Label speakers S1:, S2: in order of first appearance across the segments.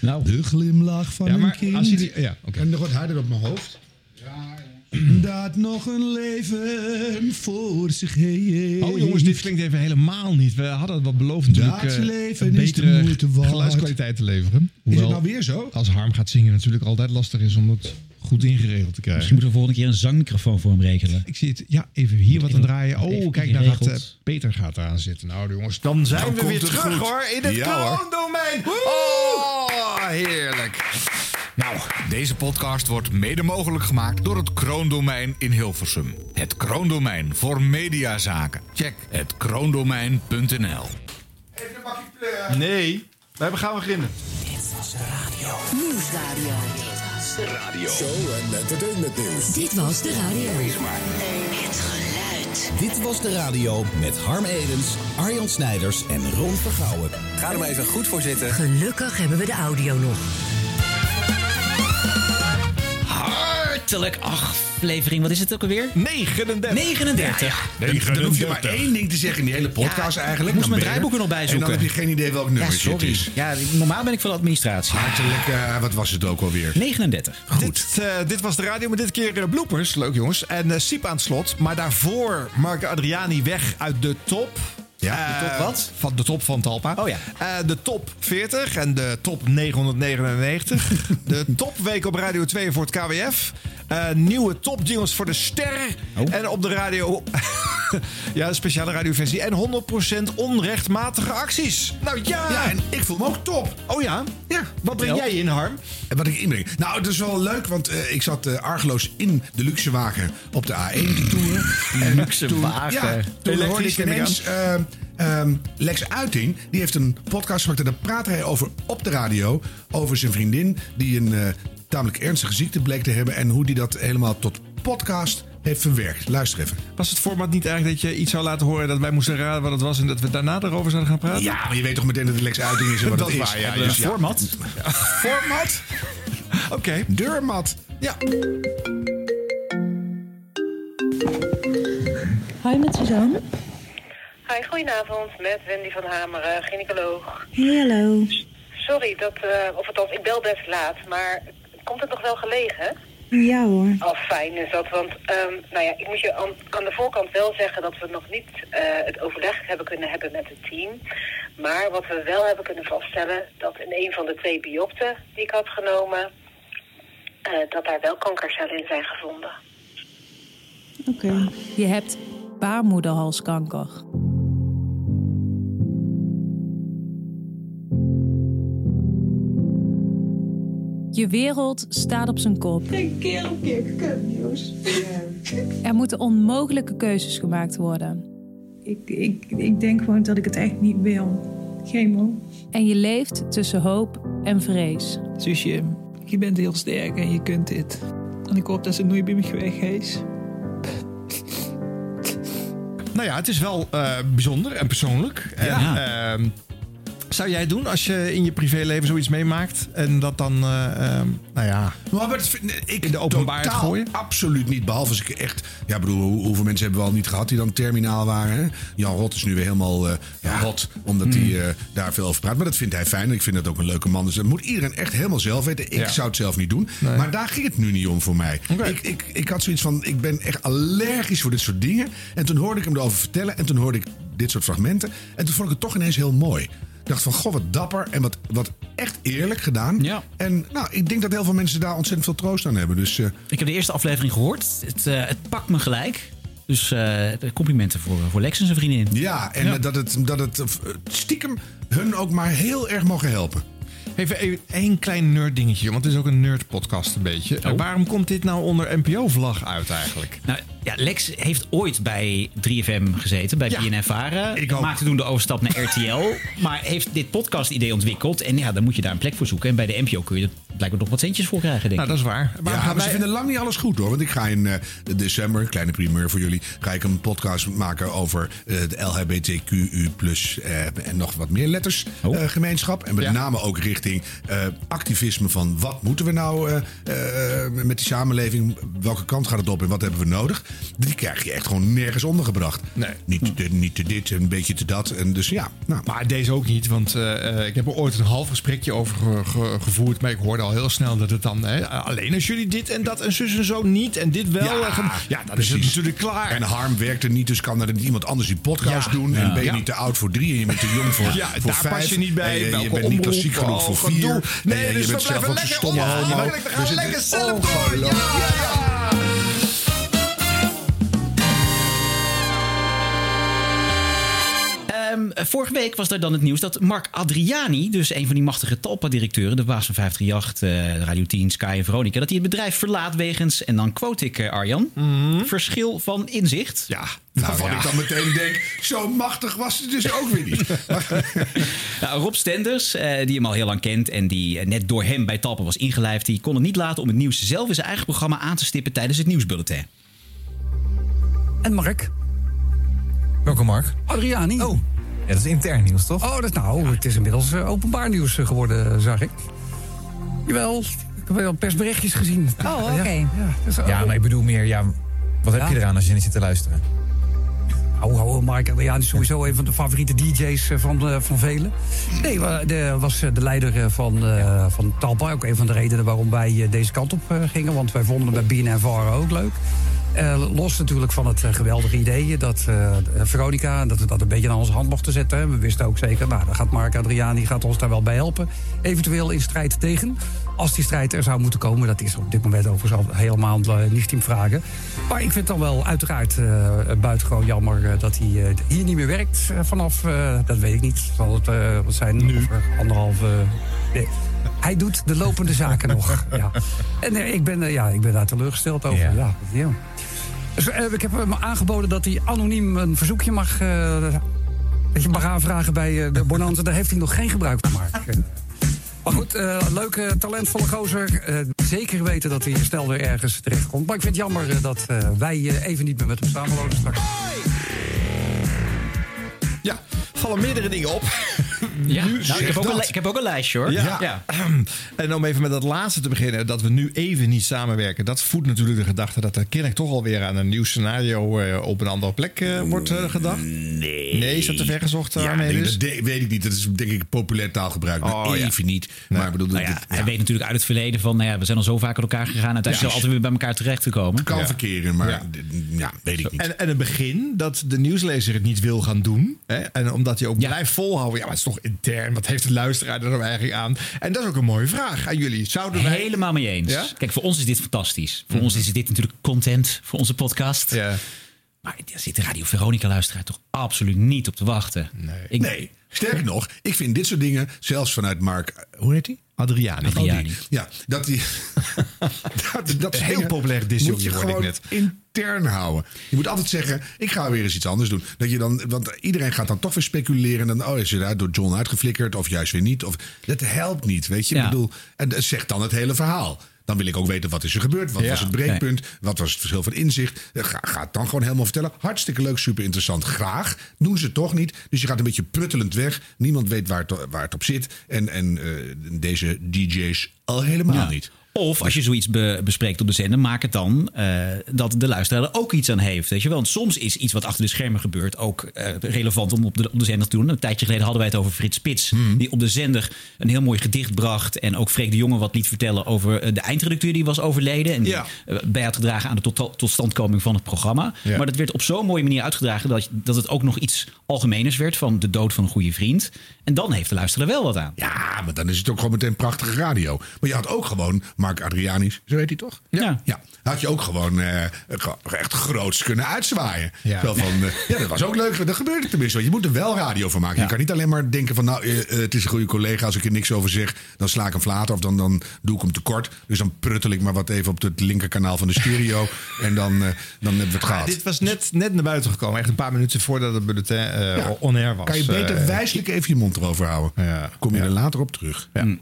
S1: Nou.
S2: De glimlach van
S1: Ja,
S2: een
S1: maar
S2: kind.
S1: als je die... Ja, oké.
S3: En nog wat harder op mijn hoofd.
S2: Dat nog een leven voor zich heeft.
S1: Oh jongens, dit klinkt even helemaal niet. We hadden wat beloofd natuurlijk
S2: Dat
S1: eh,
S2: leven
S1: een
S2: is de
S1: betere
S2: moeite waard.
S1: geluidskwaliteit te leveren.
S3: Is het
S1: Hoewel,
S3: nou weer zo?
S1: als Harm gaat zingen natuurlijk altijd lastig is om dat goed ingeregeld te krijgen.
S4: Misschien moeten we volgende keer een zangmicrofoon voor hem regelen.
S1: Ik zie het. Ja, even hier wat aan draaien.
S4: even
S1: Oh, kijk,
S4: goed
S1: daar gaat eh,
S4: geregeld.
S1: Peter gaat eraan zitten. Nou jongens, dan zijn
S5: Dan
S1: we
S5: komt
S1: weer
S5: het
S1: terug
S5: goed.
S1: hoor in het
S5: Ja, hoor.
S1: kroondomein.
S5: Oh, heerlijk. Nou, deze podcast wordt mede mogelijk gemaakt door het Kroondomein in Hilversum. Het Kroondomein voor mediazaken. Check het kroondomein.nl.
S6: Nee, wij gaan beginnen.
S7: Nieuwsradio.
S8: Show en entertainment nieuws.
S7: Dit was de radio. Het geluid.
S9: Dit was de radio met Harm Edens, Arjan Snijders en Ron Vergouwen. Ga er maar even goed voor zitten.
S7: Gelukkig hebben we de audio nog.
S4: Hartelijk aflevering. Wat is het ook alweer?
S6: 39.
S4: 39.
S3: Dan, dan hoef je maar één ding te zeggen in die hele podcast
S4: Ja,
S3: eigenlijk.
S4: moest
S3: Dan ben
S4: mijn
S3: je
S4: draaiboek er nog bij zoeken.
S3: En dan heb je geen idee welk nummer
S4: Ja,
S3: het
S4: sorry.
S3: is.
S4: Ja, normaal ben ik van de administratie.
S3: Hartelijk, eh, wat was het ook alweer?
S4: 39.
S6: Dit, eh, dit was de radio, maar dit keer eh, bloopers. Leuk jongens. En eh Siep aan het slot. Maar daarvoor Marco Adriani weg uit de top.
S3: Ja, de
S6: Eh,
S3: top wat?
S6: Van de top van Talpa.
S4: Oh ja.
S6: Eh, de top 40 en de top 999. de topweek op Radio 2 voor het KWF. Eh, nieuwe topjingles voor de ster.
S3: Oh.
S6: En op de radio... ja, een speciale radioversie. En 100% onrechtmatige acties. Nou ja!
S3: Ja, en ik voel me ook top.
S6: Oh ja?
S3: Ja,
S6: Wat breng jij in, Harm?
S3: En Wat ik inbreng. Nou, het is wel leuk, want eh, ik zat eh, argeloos in de luxe wagen op de A1 te toeren. En
S4: Luxe
S3: toen-
S4: wagen.
S3: Ja, toen hoorde
S6: Elektrisch,
S3: ik
S6: neem ik
S3: ineens ehm, ehm, Lex Uiting. Die heeft een podcast gemaakt en daar praat hij over op de radio. Over zijn vriendin die een eh, tamelijk ernstige ziekte bleek te hebben. En hoe die dat helemaal tot podcast heeft verwerkt. Luister even.
S6: Was het format niet eigenlijk dat je iets zou laten horen dat wij moesten raden wat het was en dat we daarna erover zouden gaan praten?
S3: Ja, maar je weet toch meteen dat het Lex Uiting is en wat
S6: Dat
S3: het
S6: is
S3: is.
S6: waar, ja,
S3: Dus
S6: ja.
S4: Format.
S6: Format? Oké.
S3: Deurmat.
S6: Ja.
S10: Hi, met Suzanne.
S11: Hi, goedenavond met Wendy van Hameren, gynaecoloog.
S10: Hey, hallo.
S11: Sorry dat, eh, of althans, ik bel best laat, maar komt het nog wel gelegen?
S10: Ja hoor.
S11: Al fijn is dat, want ehm, nou ja, ik moet je aan, aan de voorkant wel zeggen dat we nog niet eh, het overleg hebben kunnen hebben met het team. Maar wat we wel hebben kunnen vaststellen, dat in een van de twee biopten die ik had genomen, eh, dat daar wel kankercellen in zijn gevonden.
S10: Oké.
S11: Je hebt baarmoederhalskanker. Je wereld staat op zijn kop.
S10: Een keer op keer kutnieuws.
S11: Er moeten onmogelijke keuzes gemaakt worden.
S10: Ik, ik, ik denk gewoon dat ik het echt niet wil. Chemo.
S11: En je leeft tussen hoop en vrees.
S10: Zusje, je bent heel sterk en je kunt dit. En ik hoop dat ze nooit bij me weg is.
S6: Nou ja, het is wel eh, bijzonder en persoonlijk. En,
S4: Ja.
S6: ehm, zou jij doen als je in je privéleven zoiets meemaakt en dat dan, eh, ehm, nou ja,
S3: Maar wat vind ik
S6: In de openbaarheid
S3: totaal
S6: gooien?
S3: Absoluut niet. Behalve als ik echt. Ja, bedoel, hoe- hoeveel mensen hebben we al niet gehad die dan terminaal waren? hè? Jan Rot is nu weer helemaal eh ja, hot, omdat hij eh, daar veel over praat. Maar dat vindt hij fijn. en Ik vind dat ook een leuke man. Dus dat moet iedereen echt helemaal zelf weten. Ik
S6: Ja.
S3: zou het zelf niet doen. Maar daar ging het nu niet om voor mij. Ik, ik, ik had zoiets van: ik ben echt allergisch voor dit soort dingen. En toen hoorde ik hem erover vertellen. En toen hoorde ik dit soort fragmenten. En toen vond ik het toch ineens heel mooi. Ik dacht van, goh, wat dapper en wat, wat echt eerlijk gedaan.
S4: Ja.
S3: En nou, ik denk dat heel veel mensen daar ontzettend veel troost aan hebben. Dus eh,
S4: Ik heb de eerste aflevering gehoord. Het, eh, het pakt me gelijk. Dus eh, complimenten voor, voor Lex en zijn vriendin.
S3: ja, en eh, dat het, dat het eh, stiekem hun ook maar heel erg mogen helpen.
S6: Even even één klein nerd dingetje, want het is ook een nerd podcast een beetje. Eh, Waarom komt dit nou onder NPO-vlag uit eigenlijk?
S4: Nou, ja, Lex heeft ooit bij 3FM gezeten, bij
S6: Ja,
S4: BNF Varen.
S6: ik ook.
S4: Maakte toen de overstap naar RTL. maar heeft dit podcast-idee ontwikkeld. En ja, dan moet je daar een plek voor zoeken. En bij de NPO kun je er blijkbaar nog wat centjes voor krijgen, denk
S6: Nou,
S4: ik.
S6: dat is waar. Maar
S3: ja,
S6: gaan
S3: maar
S6: wij-
S3: ze vinden lang niet alles goed hoor. Want ik ga in eh, december, kleine primeur voor jullie, ga ik een podcast maken over eh, de LHBTQU plus eh, en nog wat meer letters
S4: Oh.
S3: eh, gemeenschap. En met
S6: Ja.
S3: name ook richting eh, activisme van wat moeten we nou eh, eh, met die samenleving? Welke kant gaat het op en wat hebben we nodig? Die krijg je echt gewoon nergens ondergebracht. Niet, te, niet te dit, een beetje te dat. En dus ja, nou.
S6: Maar deze ook niet, want eh, eh, ik heb er ooit een half gesprekje over ge- ge- gevoerd. Maar ik hoorde al heel snel dat het dan... Hè, alleen als jullie dit en dat en zus en zo niet en dit wel. en ge- ja dan is het natuurlijk klaar.
S3: En Harm werkt er niet, dus kan er iemand anders die podcast
S6: Ja.
S3: doen.
S6: Ja.
S3: En ben je
S6: Ja.
S3: niet te oud voor drie en je bent te jong voor,
S6: Ja,
S3: voor
S6: daar
S3: vijf.
S6: pas je niet bij.
S3: En je- je,
S6: Welke
S3: bent niet
S6: omroep,
S3: klassiek genoeg
S6: oh,
S3: voor
S6: gedoe.
S3: vier.
S6: Nee,
S3: En je
S6: dus we
S3: bent zelf ook
S6: blijven
S3: een
S6: lekker
S3: stomme homo.
S6: onafhankelijk. We gaan
S3: We zitten-
S6: lekker zelf
S3: Oh,
S6: door. Ja,
S4: Ehm, vorige week was er dan het nieuws dat Mark Adriani, dus een van die machtige Talpa-directeuren, de baas van 538, eh Radio 10, Sky en Veronica, dat hij het bedrijf verlaat wegens, en dan quote ik eh, Arjan, verschil van inzicht.
S6: Mhm.
S4: Nou,
S6: Ja, nou,
S3: Waarvan Nou, ik dan meteen denk, zo machtig was het dus ook weer niet.
S4: Nou, Rob Stenders, eh, die hem al heel lang kent en die eh, net door hem bij Talpa was ingelijfd, die kon het niet laten om het nieuws zelf in zijn eigen programma aan te stippen tijdens het nieuwsbulletin.
S12: En Mark?
S13: Welkom, Mark.
S12: Adriani. Oh.
S13: Ja, dat is intern nieuws, toch?
S12: Oh, dat is nou, het is inmiddels eh, openbaar nieuws eh, geworden, eh, zag ik. Jawel, ik heb wel persberichtjes gezien.
S14: Oh, oké.
S13: Ja, maar ik bedoel meer, ja, wat heb je eraan als je niet zit te luisteren?
S12: Hou, hou, Mark Adriani is sowieso een van de favoriete DJ's eh, van, eh, van velen. Nee, wa- de, was eh, de leider eh, van, eh, van Talpa. Ook een van de redenen waarom wij eh, deze kant op eh, gingen. Want wij vonden hem bij BNNVR ook leuk. Eh, los natuurlijk van het eh, geweldige idee dat eh, Veronica dat we dat een beetje aan onze hand mochten zetten. hè. We wisten ook zeker, nou, dan gaat Mark Adriani gaat ons daar wel bij helpen. Eventueel in strijd tegen. Als die strijd er zou moeten komen, dat is op dit moment overigens al helemaal eh, niet in vragen. Maar ik vind het dan wel uiteraard eh buitengewoon jammer eh, dat hij eh, hier niet meer werkt eh, vanaf, eh, dat weet ik niet, zal het eh, wat zijn, Of, eh, anderhalf... eh, nee. Hij doet de lopende zaken nog. Ja. En eh, ik, ben, eh, ja, ik ben daar teleurgesteld over.
S13: Ja.
S12: Ja, ja. Dus, eh, ik heb hem aangeboden dat hij anoniem een verzoekje mag, eh, dat je mag aanvragen bij eh, de Bonanza. Daar heeft hij nog geen gebruik van gemaakt. Maar goed, eh, leuke, talentvolle gozer. Eh, zeker weten dat hij snel weer ergens terechtkomt. Maar ik vind het jammer eh, dat eh, wij eh, even niet meer met hem samenwonen straks.
S15: Ja, vallen meerdere dingen op.
S4: Ja,
S15: Nu
S4: nou, ik
S15: zeg
S4: heb ook
S15: dat.
S4: een li- ik heb ook een lijstje, hoor.
S15: Ja.
S4: Ja.
S6: Ehm, En om even met dat laatste te beginnen, dat we nu even niet samenwerken. Dat voedt natuurlijk de gedachte dat er kennelijk toch alweer aan een nieuw scenario eh, op een andere plek eh, wordt eh, gedacht. Nee. Nee, is dat te ver gezocht? eh,
S3: Ja,
S6: Arne
S3: nee,
S6: Hedis?
S3: dat de- weet ik niet. Dat is denk ik populair taalgebruik. Maar
S6: dus- Oh, ja.
S3: even niet. Maar ik bedoel,
S4: Nou ja,
S3: dit-
S4: Hij weet natuurlijk uit het verleden van, nou ja, we zijn al zo vaak uit elkaar gegaan. Uiteindelijk
S3: Ja.
S4: zal altijd weer bij elkaar terecht te komen.
S3: kan verkeren, maar
S6: Ja.
S3: d- ja, weet ik niet.
S6: En, en het begin dat de nieuwslezer het niet wil gaan doen. Hè? En omdat hij ook blijft volhouden. Ja, maar het is toch intern. Wat heeft de luisteraar er nou eigenlijk aan? En dat is ook een mooie vraag aan jullie. Zouden wij...
S4: Helemaal mee eens.
S6: Ja?
S4: Kijk, voor ons is dit fantastisch. Voor ons is dit natuurlijk content voor onze podcast. Maar daar zit de Radio Veronica-luisteraar toch absoluut niet op te wachten. Nee. Ik,
S3: Nee, sterker nog, ik vind dit soort dingen, zelfs vanuit Mark, hoe heet hij? Adriani.
S4: Adriani.
S3: Ja, dat die. dat, dat
S6: Heel populair disjockey
S3: Moet je
S6: word ik
S3: gewoon
S6: net.
S3: intern houden. Je moet altijd zeggen, ik ga weer eens iets anders doen. Dat je dan, want iedereen gaat dan toch weer speculeren. En dan, oh, is hij daar door John uitgeflikkerd of juist weer niet. Of, dat helpt niet, weet je. Ik
S6: Ja.
S3: bedoel, en dat zegt dan het hele verhaal. Dan wil ik ook weten wat is er gebeurd. Wat
S6: Ja.
S3: was het breekpunt? Wat was het verschil van inzicht? Eh, Ga, ga het dan gewoon helemaal vertellen. Hartstikke leuk, super interessant. Graag. Doen ze het toch niet. Dus je gaat een beetje pruttelend weg. Niemand weet waar het, waar het op zit. En, en eh, deze DJ's al helemaal
S4: Ja.
S3: niet.
S4: Of als je zoiets be- bespreekt op de zender, maak het dan eh, dat de luisteraar er ook iets aan heeft. Weet je wel? Want soms is iets wat achter de schermen gebeurt ook eh, relevant om op de, op de zender te doen. Een tijdje geleden hadden wij het over Frits Spits,
S3: Hmm.
S4: die op de zender een heel mooi gedicht bracht. En ook Freek de Jonge wat liet vertellen over eh, de eindredacteur die was overleden. En die eh, bij had gedragen aan de tot, totstandkoming van het programma.
S6: Ja.
S4: Maar dat werd op zo'n mooie manier uitgedragen dat, dat het ook nog iets algemeners werd van de dood van een goede vriend. En dan heeft de luisteraar wel wat aan.
S3: Ja, maar dan is het ook gewoon meteen prachtige radio. Maar je had ook gewoon Mark Adrianis, zo heet hij toch?
S4: Ja.
S3: ja. Had je ook gewoon eh, ge- echt groots kunnen uitzwaaien.
S6: Ja.
S3: Zo van, eh, ja, dat was ook leuk. Dat gebeurde tenminste. Want je moet er wel radio van maken. Je kan niet alleen maar denken van, nou, eh, eh, het is een goede collega. Als ik er niks over zeg, dan sla ik hem flater. Of dan, dan doe ik hem tekort. Dus dan pruttel ik maar wat even op het linkerkanaal van de stereo. en dan, eh, dan hebben we het
S6: Ah,
S3: gehad.
S6: dit was net, net naar buiten gekomen. Echt een paar minuten voordat het bulletin eh,
S3: Ja.
S6: on-air was.
S3: Kan je beter
S6: Eh,
S3: wijselijk even je mond erover houden. Kom je er later op terug.
S6: Ja. Mm.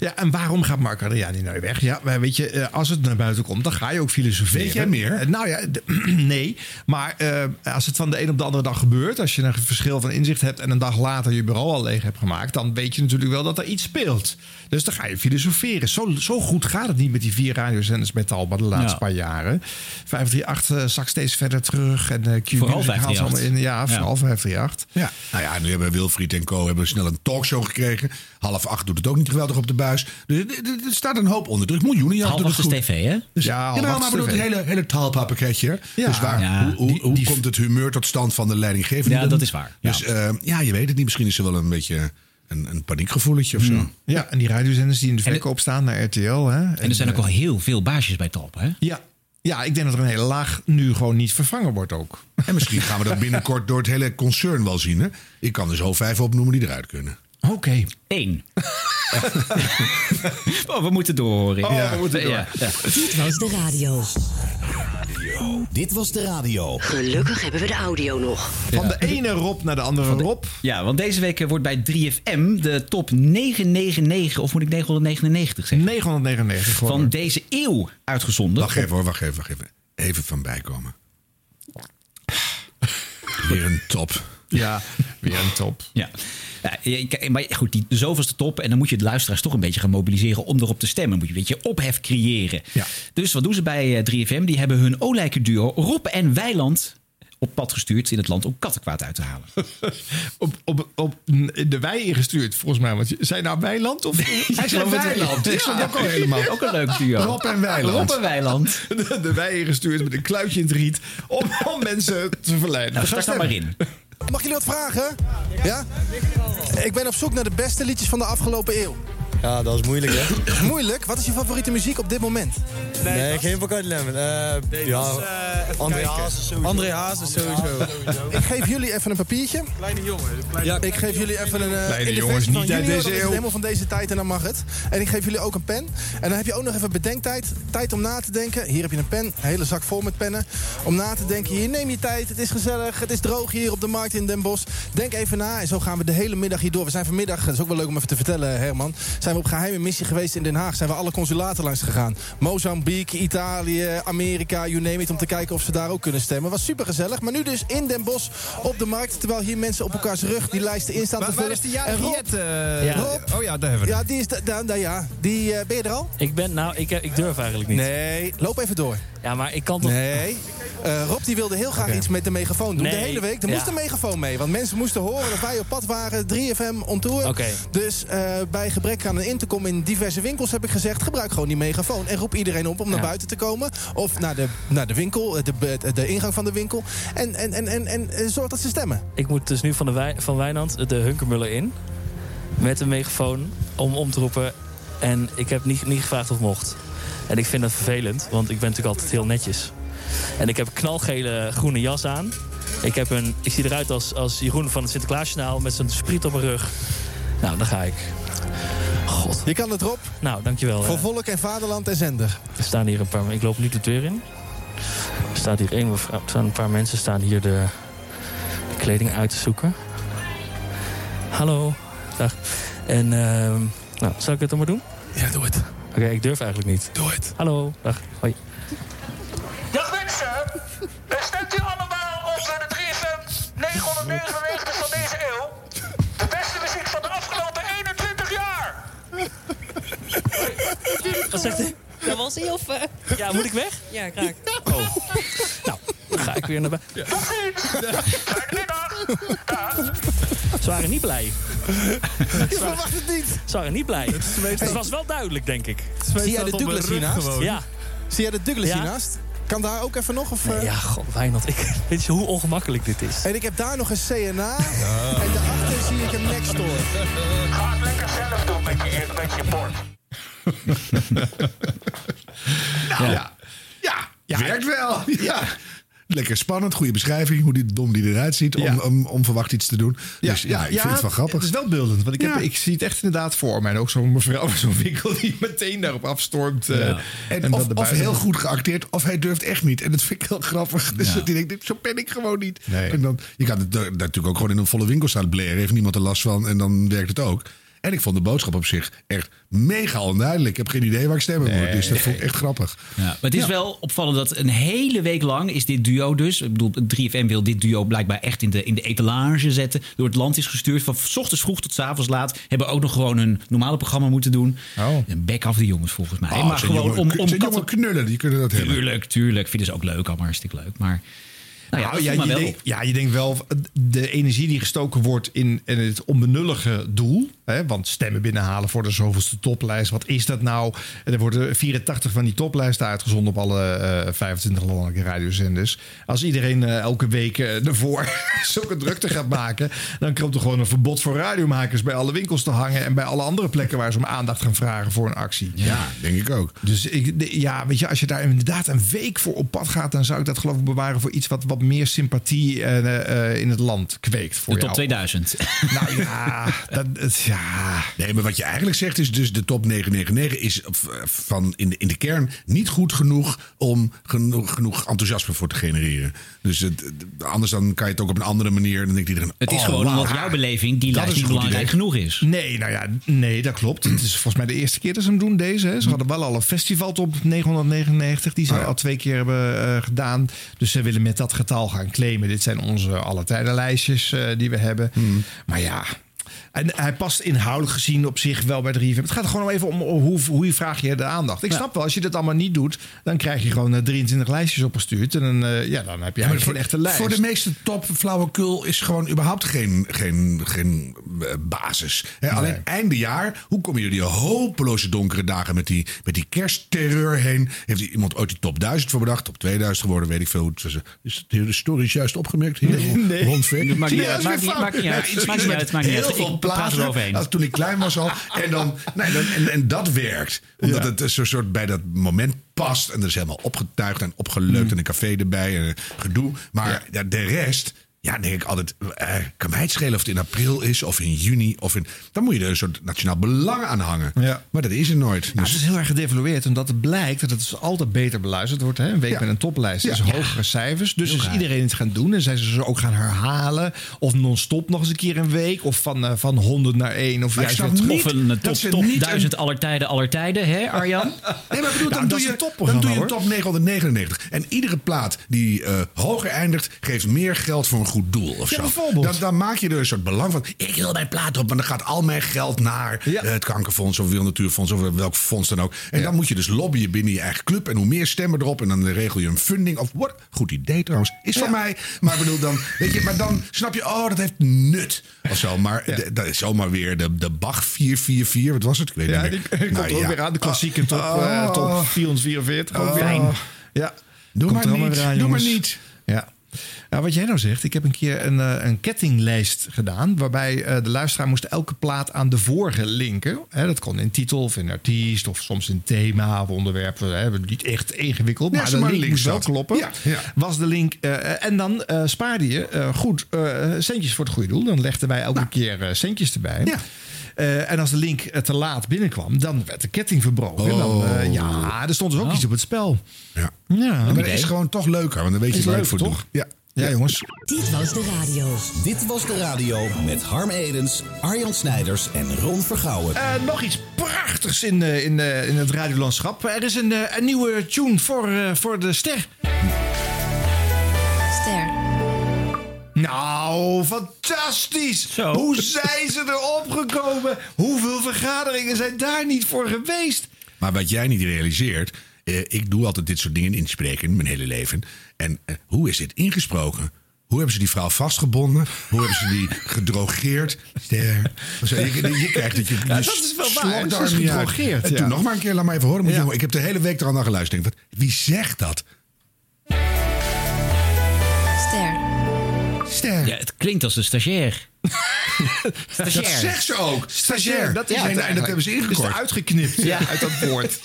S6: Ja, en waarom gaat Mark Adriani nou weg? Ja, maar weet je, eh, als het naar buiten komt, dan ga je ook filosoferen.
S3: Weet jij meer?
S6: Eh, Nou ja, d- nee. Maar eh, als het van de een op de andere dag gebeurt, als je een verschil van inzicht hebt en een dag later je bureau al leeg hebt gemaakt, dan weet je natuurlijk wel dat er iets speelt. Dus dan ga je filosoferen. Zo, zo goed gaat het niet met die vier radiozenders met Talpa de laatste
S4: Ja.
S6: paar jaren. 538 eh, zak steeds verder terug en eh Q
S4: Vooral
S6: Music haalt ze allemaal in.
S4: 538.
S6: Ja,
S3: Ja.
S6: vooral 538.
S3: Ja. Nou ja, nu hebben Wilfried en Co. hebben snel een talkshow gekregen. Half acht doet het ook niet geweldig op de buis. Dus er- er er staat een hoop onder druk. Miljoenen jaar
S4: Half
S3: doet het
S4: acht is
S3: goed.
S4: tv, hè?
S3: Dus,
S4: Ja,
S3: ja,
S4: half
S3: maar-
S4: acht
S3: maar
S4: is
S3: bedoel,
S4: tv.
S3: het hele, hele taalpakketje.
S4: Ja.
S3: dus waar,
S4: Ja,
S3: hoe, hoe,
S4: die-
S3: hoe
S4: die-
S3: komt het humeur tot stand van de leidinggevende?
S4: Ja, dat is waar.
S3: Dus eh, ja, je weet het niet. Misschien is er wel een beetje een, een paniekgevoeletje
S4: Hmm.
S3: of zo.
S6: Hmm. Ja, en die radiozenders die in de verkoop staan naar RTL. Hè? En,
S4: er zijn ook
S6: eh,
S4: al heel veel baasjes bij Talpa, hè?
S6: Ja. ja, ik denk dat er een hele laag nu gewoon niet vervangen wordt ook.
S3: En misschien gaan we dat binnenkort door het hele concern wel zien. Hè? Ik kan er zo vijf opnoemen die eruit kunnen.
S6: Oké.
S4: Eén. oh, we moeten door. Rick.
S12: Oh, we moeten door.
S4: Ja, ja.
S12: Dit was de radio. Dit was de radio.
S16: Gelukkig hebben we de audio nog.
S6: Van de ene Rob naar de andere Rob.
S4: Ja, want deze week eh, wordt bij 3FM de top 999, of moet ik 999 zeggen?
S6: 999
S4: Van deze eeuw uitgezonden.
S3: Wacht even hoor, wacht even, wacht even. Even van bijkomen. Weer een top.
S6: Ja, weer een top.
S4: Ja. Ja, je- kijk, maar goed, die, de zoveelste top. En dan moet je de luisteraars toch een beetje gaan mobiliseren om erop te stemmen. Moet je een beetje ophef creëren. Dus wat doen ze bij eh, 3FM? Die hebben hun olijke duo Rob en Weiland op pad gestuurd in het land om kattenkwaad uit te halen.
S6: Op, op, op de wei ingestuurd, volgens mij. Want je- zijn nou Weiland of...
S4: Hij
S6: zei
S4: zei Weiland.
S6: Ik
S4: Ja.
S6: snap ook al helemaal.
S4: Ook een leuk duo.
S6: Rob en Weiland.
S4: Rob en Weiland.
S6: De, de wei ingestuurd met een kluitje in het riet. Om, om mensen te verleiden.
S4: Nou,
S6: Ga
S4: start nou maar
S6: stemmen.
S4: in.
S2: Mag jullie wat vragen? Ja? Ik ben op zoek naar de beste liedjes van de afgelopen eeuw.
S17: Ja, dat is moeilijk, hè?
S2: Moeilijk, wat is je favoriete muziek op dit moment?
S17: Nee, geen Bacardi Lemon. Eh, ja,
S7: eh,
S17: André Hazes sowieso.
S2: André Hazes sowieso. Ik geef jullie even een papiertje. Kleine jongen. ik geef jullie even een... eh,
S6: Kleine
S2: in de
S6: jongens,
S2: versie van
S6: niet uit
S2: junior,
S6: deze
S2: dat is
S6: eeuw.
S2: helemaal van deze tijd en dan mag het. En ik geef jullie ook een pen. En dan heb je ook nog even bedenktijd. Tijd om na te denken. Hier heb je een pen. Een hele zak vol met pennen. Om na te denken. Hier, neem je tijd. Het is gezellig. Het is droog hier op de markt in Den Bosch. Denk even na. En zo gaan we de hele middag hier door. We zijn vanmiddag, dat is ook wel leuk om even te vertellen, Herman. Zijn we op geheime missie geweest in Den Haag. Zijn we alle consulaten langs gegaan. Mozambique, Italië, Amerika, you name it. Om te kijken of ze daar ook kunnen stemmen. Was super gezellig. Maar nu dus in Den Bosch op de markt. Terwijl hier mensen op elkaars rug die lijsten in staan te
S6: Waar-
S2: vullen.
S6: waar is de
S2: En
S6: jarige
S2: Rob-
S6: Jet? eh,
S17: Ja.
S2: Rob?
S6: Oh ja, daar hebben we
S2: Ja, die is... da- da- da- ja. Die, eh, ben je er al?
S17: Ik ben, nou, ik, ik durf eigenlijk niet.
S2: Nee, loop even door.
S17: Ja, maar ik kan toch...
S2: Nee. Eh, Rob die wilde heel graag
S17: Oké.
S2: iets met de megafoon doen. De
S17: Nee.
S2: hele week. Er
S17: Ja.
S2: moest een megafoon mee. Want mensen moesten horen dat wij op pad waren. 3FM on tour.
S17: Oké.
S2: Dus eh, bij gebrek aan een intercom in diverse winkels heb ik gezegd... gebruik gewoon die megafoon. En roep iedereen op om naar
S17: Ja.
S2: buiten te komen. Of naar de, naar de winkel, eh, de, be- de ingang van de winkel. En, en, en, en, en eh, zorg dat ze stemmen.
S17: Ik moet dus nu van, de Wij- van Wijnand de Hunkermuller in. Met een megafoon om om te roepen. En ik heb niet, niet gevraagd of mocht. En ik vind dat vervelend, want ik ben natuurlijk altijd heel netjes. En ik heb een knalgele groene jas aan. Ik, heb een, ik zie eruit als, als Jeroen van het Sinterklaasjournaal met zijn spriet op mijn rug. Nou, daar ga ik. God.
S2: Je kan het, Rob.
S17: Nou, dankjewel. hè.
S2: Voor volk en vaderland en zender.
S17: Er staan hier een paar. Ik loop nu de deur in. Er staat hier één mevrouw, er staan een paar mensen staan hier de, de kleding uit te zoeken. Hallo, dag. En ehm, nou, zal ik het dan maar doen?
S2: Ja, doe het.
S17: Oké, ik durf eigenlijk niet.
S2: Doe het.
S17: Hallo, dag. Hoi.
S13: Dag mensen, Eh, stemt u allemaal op eh, de 3FM 999 van deze eeuw. De beste muziek van de afgelopen 21 jaar.
S17: Wat zegt hij?
S18: Dat was heel ver.
S17: Ja, moet ik weg? Oh.
S18: Ja, graag.
S17: Dan ga ik weer naar buiten.
S13: Tot ziens. Fijne middag. Dag.
S17: Ze waren niet blij. Je
S2: verwacht het niet.
S17: Ze waren niet blij. Het was wel duidelijk, denk ik.
S2: Zie jij de Douglas hiernaast?
S17: Ja.
S2: Zie jij de Douglas
S17: Ja.
S2: hiernaast? Kan daar ook even nog? Of, eh?
S17: Ja, god, Wijnand, ik, weet je hoe ongemakkelijk dit is?
S2: En ik heb daar nog een CNA. En daarachter zie ik een next door.
S13: Ga het lekker zelf
S2: Oh
S13: doen met je, met je bord.
S3: Nou, ja. Ja, werkt wel. Ja. Lekker spannend, goede beschrijving, hoe die dom die eruit ziet om, om onverwacht iets te doen. dus ja, ik vind het wel grappig.
S6: Het is wel beeldend, want ik, heb,
S3: Ja.
S6: ik zie het echt inderdaad voor mij. En ook zo'n mevrouw van zo'n winkel die meteen daarop afstormt. eh,
S3: En,
S6: dan
S3: of,
S6: de
S3: of
S6: buiten-
S3: heel goed geacteerd, of hij durft echt niet. En dat vind ik heel grappig. Dus dat hij denkt, dit- zo ben ik gewoon niet.
S6: Nee.
S3: En dan, je kan het daar- daar natuurlijk ook gewoon in een volle winkel staan bleren. Heeft niemand er last van en dan werkt het ook. En ik vond de boodschap op zich echt mega onduidelijk. Ik heb geen idee waar ik stemmen moet. Dus dat vond ik echt grappig.
S4: Ja, maar het is wel opvallend dat een hele week lang is dit duo dus... Ik bedoel, 3FM wil dit duo blijkbaar echt in de, in de etalage zetten. Door het land is gestuurd. Van s ochtends vroeg tot s avonds laat. Hebben ook nog gewoon hun normale programma moeten doen. Een bek af de jongens volgens mij.
S3: Oh,
S4: maar
S3: zijn
S4: gewoon
S3: jonge-
S4: om,
S3: zijn
S4: om
S3: jonge
S4: katten-
S3: knullen, die kunnen dat hebben.
S4: Tuurlijk, tuurlijk. Vinden ze ook leuk, allemaal hartstikke leuk. Maar nou ja,
S6: Nou,
S4: dat
S6: ja,
S4: viel mij
S6: je
S4: wel
S6: denkt-
S4: op.
S6: ja, je denkt wel eh, de energie die gestoken wordt in, in het onbenullige doel. Hè, want stemmen binnenhalen voor de zoveelste toplijst. Wat is dat nou? En er worden 84 van die toplijsten uitgezonden op alle eh, 25 landelijke radiozenders. Als iedereen eh, elke week eh, ervoor zulke drukte gaat maken. dan komt er gewoon een verbod voor radiomakers bij alle winkels te hangen. en bij alle andere plekken waar ze om aandacht gaan vragen voor een actie.
S3: Ja, denk ik ook.
S6: Dus ik, de- ja, weet je, als je daar inderdaad een week voor op pad gaat, dan zou ik dat geloof ik bewaren voor iets wat, wat meer sympathie eh, eh, in het land kweekt. Voor
S4: De top
S6: jou.
S4: 2000.
S6: Nou ja, dat, dat- ja.
S3: Nee, maar wat je eigenlijk zegt is dus de top 999 is v- van in de, in de kern niet goed genoeg om genoeg, genoeg enthousiasme voor te genereren. Dus het, het- anders dan kan je het ook op een andere manier. Dan denkt iedereen,
S4: Het is
S3: oh,
S4: gewoon
S3: wauw.
S4: omdat jouw beleving die
S3: Dat
S4: lijst
S3: is een
S4: niet
S3: goed
S4: belangrijk
S3: idee.
S4: genoeg is.
S6: Nee, nou ja, nee, dat klopt. Het is volgens mij de eerste keer dat ze hem doen, deze. Hè. Ze
S3: Mm.
S6: hadden wel al een festival op 999, die ze
S3: Oh
S6: al twee keer hebben eh, gedaan. Dus ze willen met dat getal gaan claimen. Dit zijn onze alle tijden lijstjes eh, die we hebben.
S3: Mm.
S6: Maar ja, en hij past inhoudelijk gezien op zich wel bij de revamp. Het gaat er gewoon om even om hoe, hoe je vraag je de aandacht. Ik snap wel, als je dat allemaal niet doet, dan krijg je gewoon eh, 23 lijstjes opgestuurd. En dan, eh, ja, dan heb je
S3: Ja, maar
S6: eigenlijk
S3: voor,
S6: geen echte lijst.
S3: voor de meeste top flauwekul is gewoon überhaupt geen, geen, geen eh, basis. Hè, Alleen einde jaar, hoe komen jullie hopeloze donkere dagen met die, met die kerstterreur heen? Heeft hier iemand ooit die top 1000 voor bedacht? Top 2000 geworden, weet ik veel. hoe het is. Is het hier historisch juist opgemerkt? Hier, nee.
S4: Dat maakt niet uit, maakt niet- maakt niet uit, maakt niet uit, maakt niet uit.
S3: Heel veel
S4: Ik praat
S3: platen,
S4: eroverheen.
S3: als toen ik klein was al. En, dan, nee, dan, en, en dat werkt. Omdat het een soort- soort bij dat moment past. En er is helemaal opgetuigd en opgeleukt.
S4: Mm.
S3: En een café erbij en gedoe. Maar ja, de rest, ja, denk ik altijd. eh, kan mij het schelen of het in april is of in juni. Of in, dan moet je er een soort nationaal belang aan hangen. Maar dat is er nooit.
S6: Nou, het is heel erg gedevalueerd, omdat het blijkt dat het dus altijd beter beluisterd wordt. Hè? Een week
S3: Ja.
S6: met een toplijst.
S3: Ja.
S6: Dus hogere cijfers. Dus is iedereen het gaan doen. En zijn ze ze ook gaan herhalen. Of non-stop nog eens een keer een week. Of van, eh, van 100 naar 1. Of
S4: Maar ik
S6: juist
S4: snap
S6: weer terug.
S4: niet Of een dat top- ze top niet een- 1000 aller tijden, aller tijden, hè Arjan?
S3: Nee, maar ik bedoel,
S4: Nou,
S3: dan,
S4: dat
S3: doe
S4: is
S3: je,
S4: een
S3: dan
S4: topprogramma,
S3: doe je een
S4: hoor.
S3: top 999. En iedere plaat die eh, hoger eindigt, geeft meer geld voor een goed doel. Of
S6: Ja,
S3: zo.
S6: bijvoorbeeld.
S3: Dan, dan maak je er een soort belang van. Ik wil mijn plaat op, maar dan gaat al mijn geld naar eh, het Kankerfonds of Wil Natuurfonds of eh, welk fonds dan ook. En dan moet je dus lobbyen binnen je eigen club. En hoe meer stemmen erop, en dan regel je een funding. Of wat? Goed idee trouwens. Is van mij. Maar ik bedoel, dan, weet je, maar dan snap je, oh, dat heeft nut. Of zo. Maar de- dat is zomaar weer de, de Bach 444. Wat was het? Ik weet
S6: Ja,
S3: niet
S6: die
S3: meer.
S6: komt er ook weer aan. De klassieke top,
S3: Nou Oh.
S6: eh, top 444. Ook weer.
S3: Fijn.
S6: Ja.
S3: Doe
S6: Komt
S3: maar
S6: er allemaal
S3: niet,
S6: weer aan,
S3: doe maar
S6: jongens.
S3: niet.
S6: Ja. Nou, wat jij nou zegt, ik heb een keer een, eh, een kettinglijst gedaan. Waarbij eh, de luisteraar moest elke plaat aan de vorige linken. Hè, dat kon in titel of in artiest of soms in thema of onderwerp. eh, Hè, niet echt ingewikkeld,
S3: Ja,
S6: maar
S3: ze
S6: de
S3: maar
S6: link
S3: links
S6: moest wel
S3: staat.
S6: kloppen.
S3: Ja, ja.
S6: Was de link. eh, en dan eh, spaarde je eh, goed eh, centjes voor het goede doel. Dan legden wij elke
S3: Nou.
S6: keer eh, centjes erbij. Eh, en als de link eh, te laat binnenkwam, dan werd de ketting verbroken.
S3: Oh.
S6: En Dan, eh, ja, er stond dus ook iets op het spel.
S3: Ja.
S6: ja.
S3: maar dat is gewoon toch leuker, want dan weet je
S6: Is
S3: waar je
S6: leuk,
S3: het voor
S6: toch?
S3: doet. Ja.
S6: Ja, jongens.
S12: Dit was de radio. Dit was de radio met Harm Edens, Arjan Snijders en Ron Vergouwen.
S6: Eh, nog iets prachtigs in, eh, in, eh, in het radiolandschap. Er is een, eh, een nieuwe tune voor, eh, voor de ster.
S18: Ster.
S6: Nou, fantastisch! Hoe zijn ze erop gekomen? Hoeveel vergaderingen zijn daar niet voor geweest?
S3: Maar wat jij niet realiseert, eh, ik doe altijd dit soort dingen inspreken mijn hele leven. En eh, hoe is dit ingesproken? Hoe hebben ze die vrouw vastgebonden? Hoe hebben ze die gedrogeerd? Ster. Zo, Je, je krijgt het. Je,
S6: Ja,
S3: je
S6: dat is wel
S3: slokt
S6: waar.
S3: daar
S6: Het is
S3: niet uit.
S6: gedrogeerd,
S3: En
S6: ja.
S3: toen nog maar een keer, laat maar even horen. moet je
S6: Ja.
S3: horen. ik heb de hele week er al naar geluisterd. Ik denk, wat, wie zegt dat?
S18: Ster.
S3: Ster.
S4: Ja, het klinkt als een stagiair. stagiair.
S3: Dat zegt ze ook. Stagiair.
S6: Dat is
S3: Ja,
S6: het
S3: en- en, dat
S6: eigenlijk.
S3: hebben
S6: Dus
S3: ze
S6: Het is
S3: ingekort.
S6: uitgeknipt ja, eh, uit dat woord.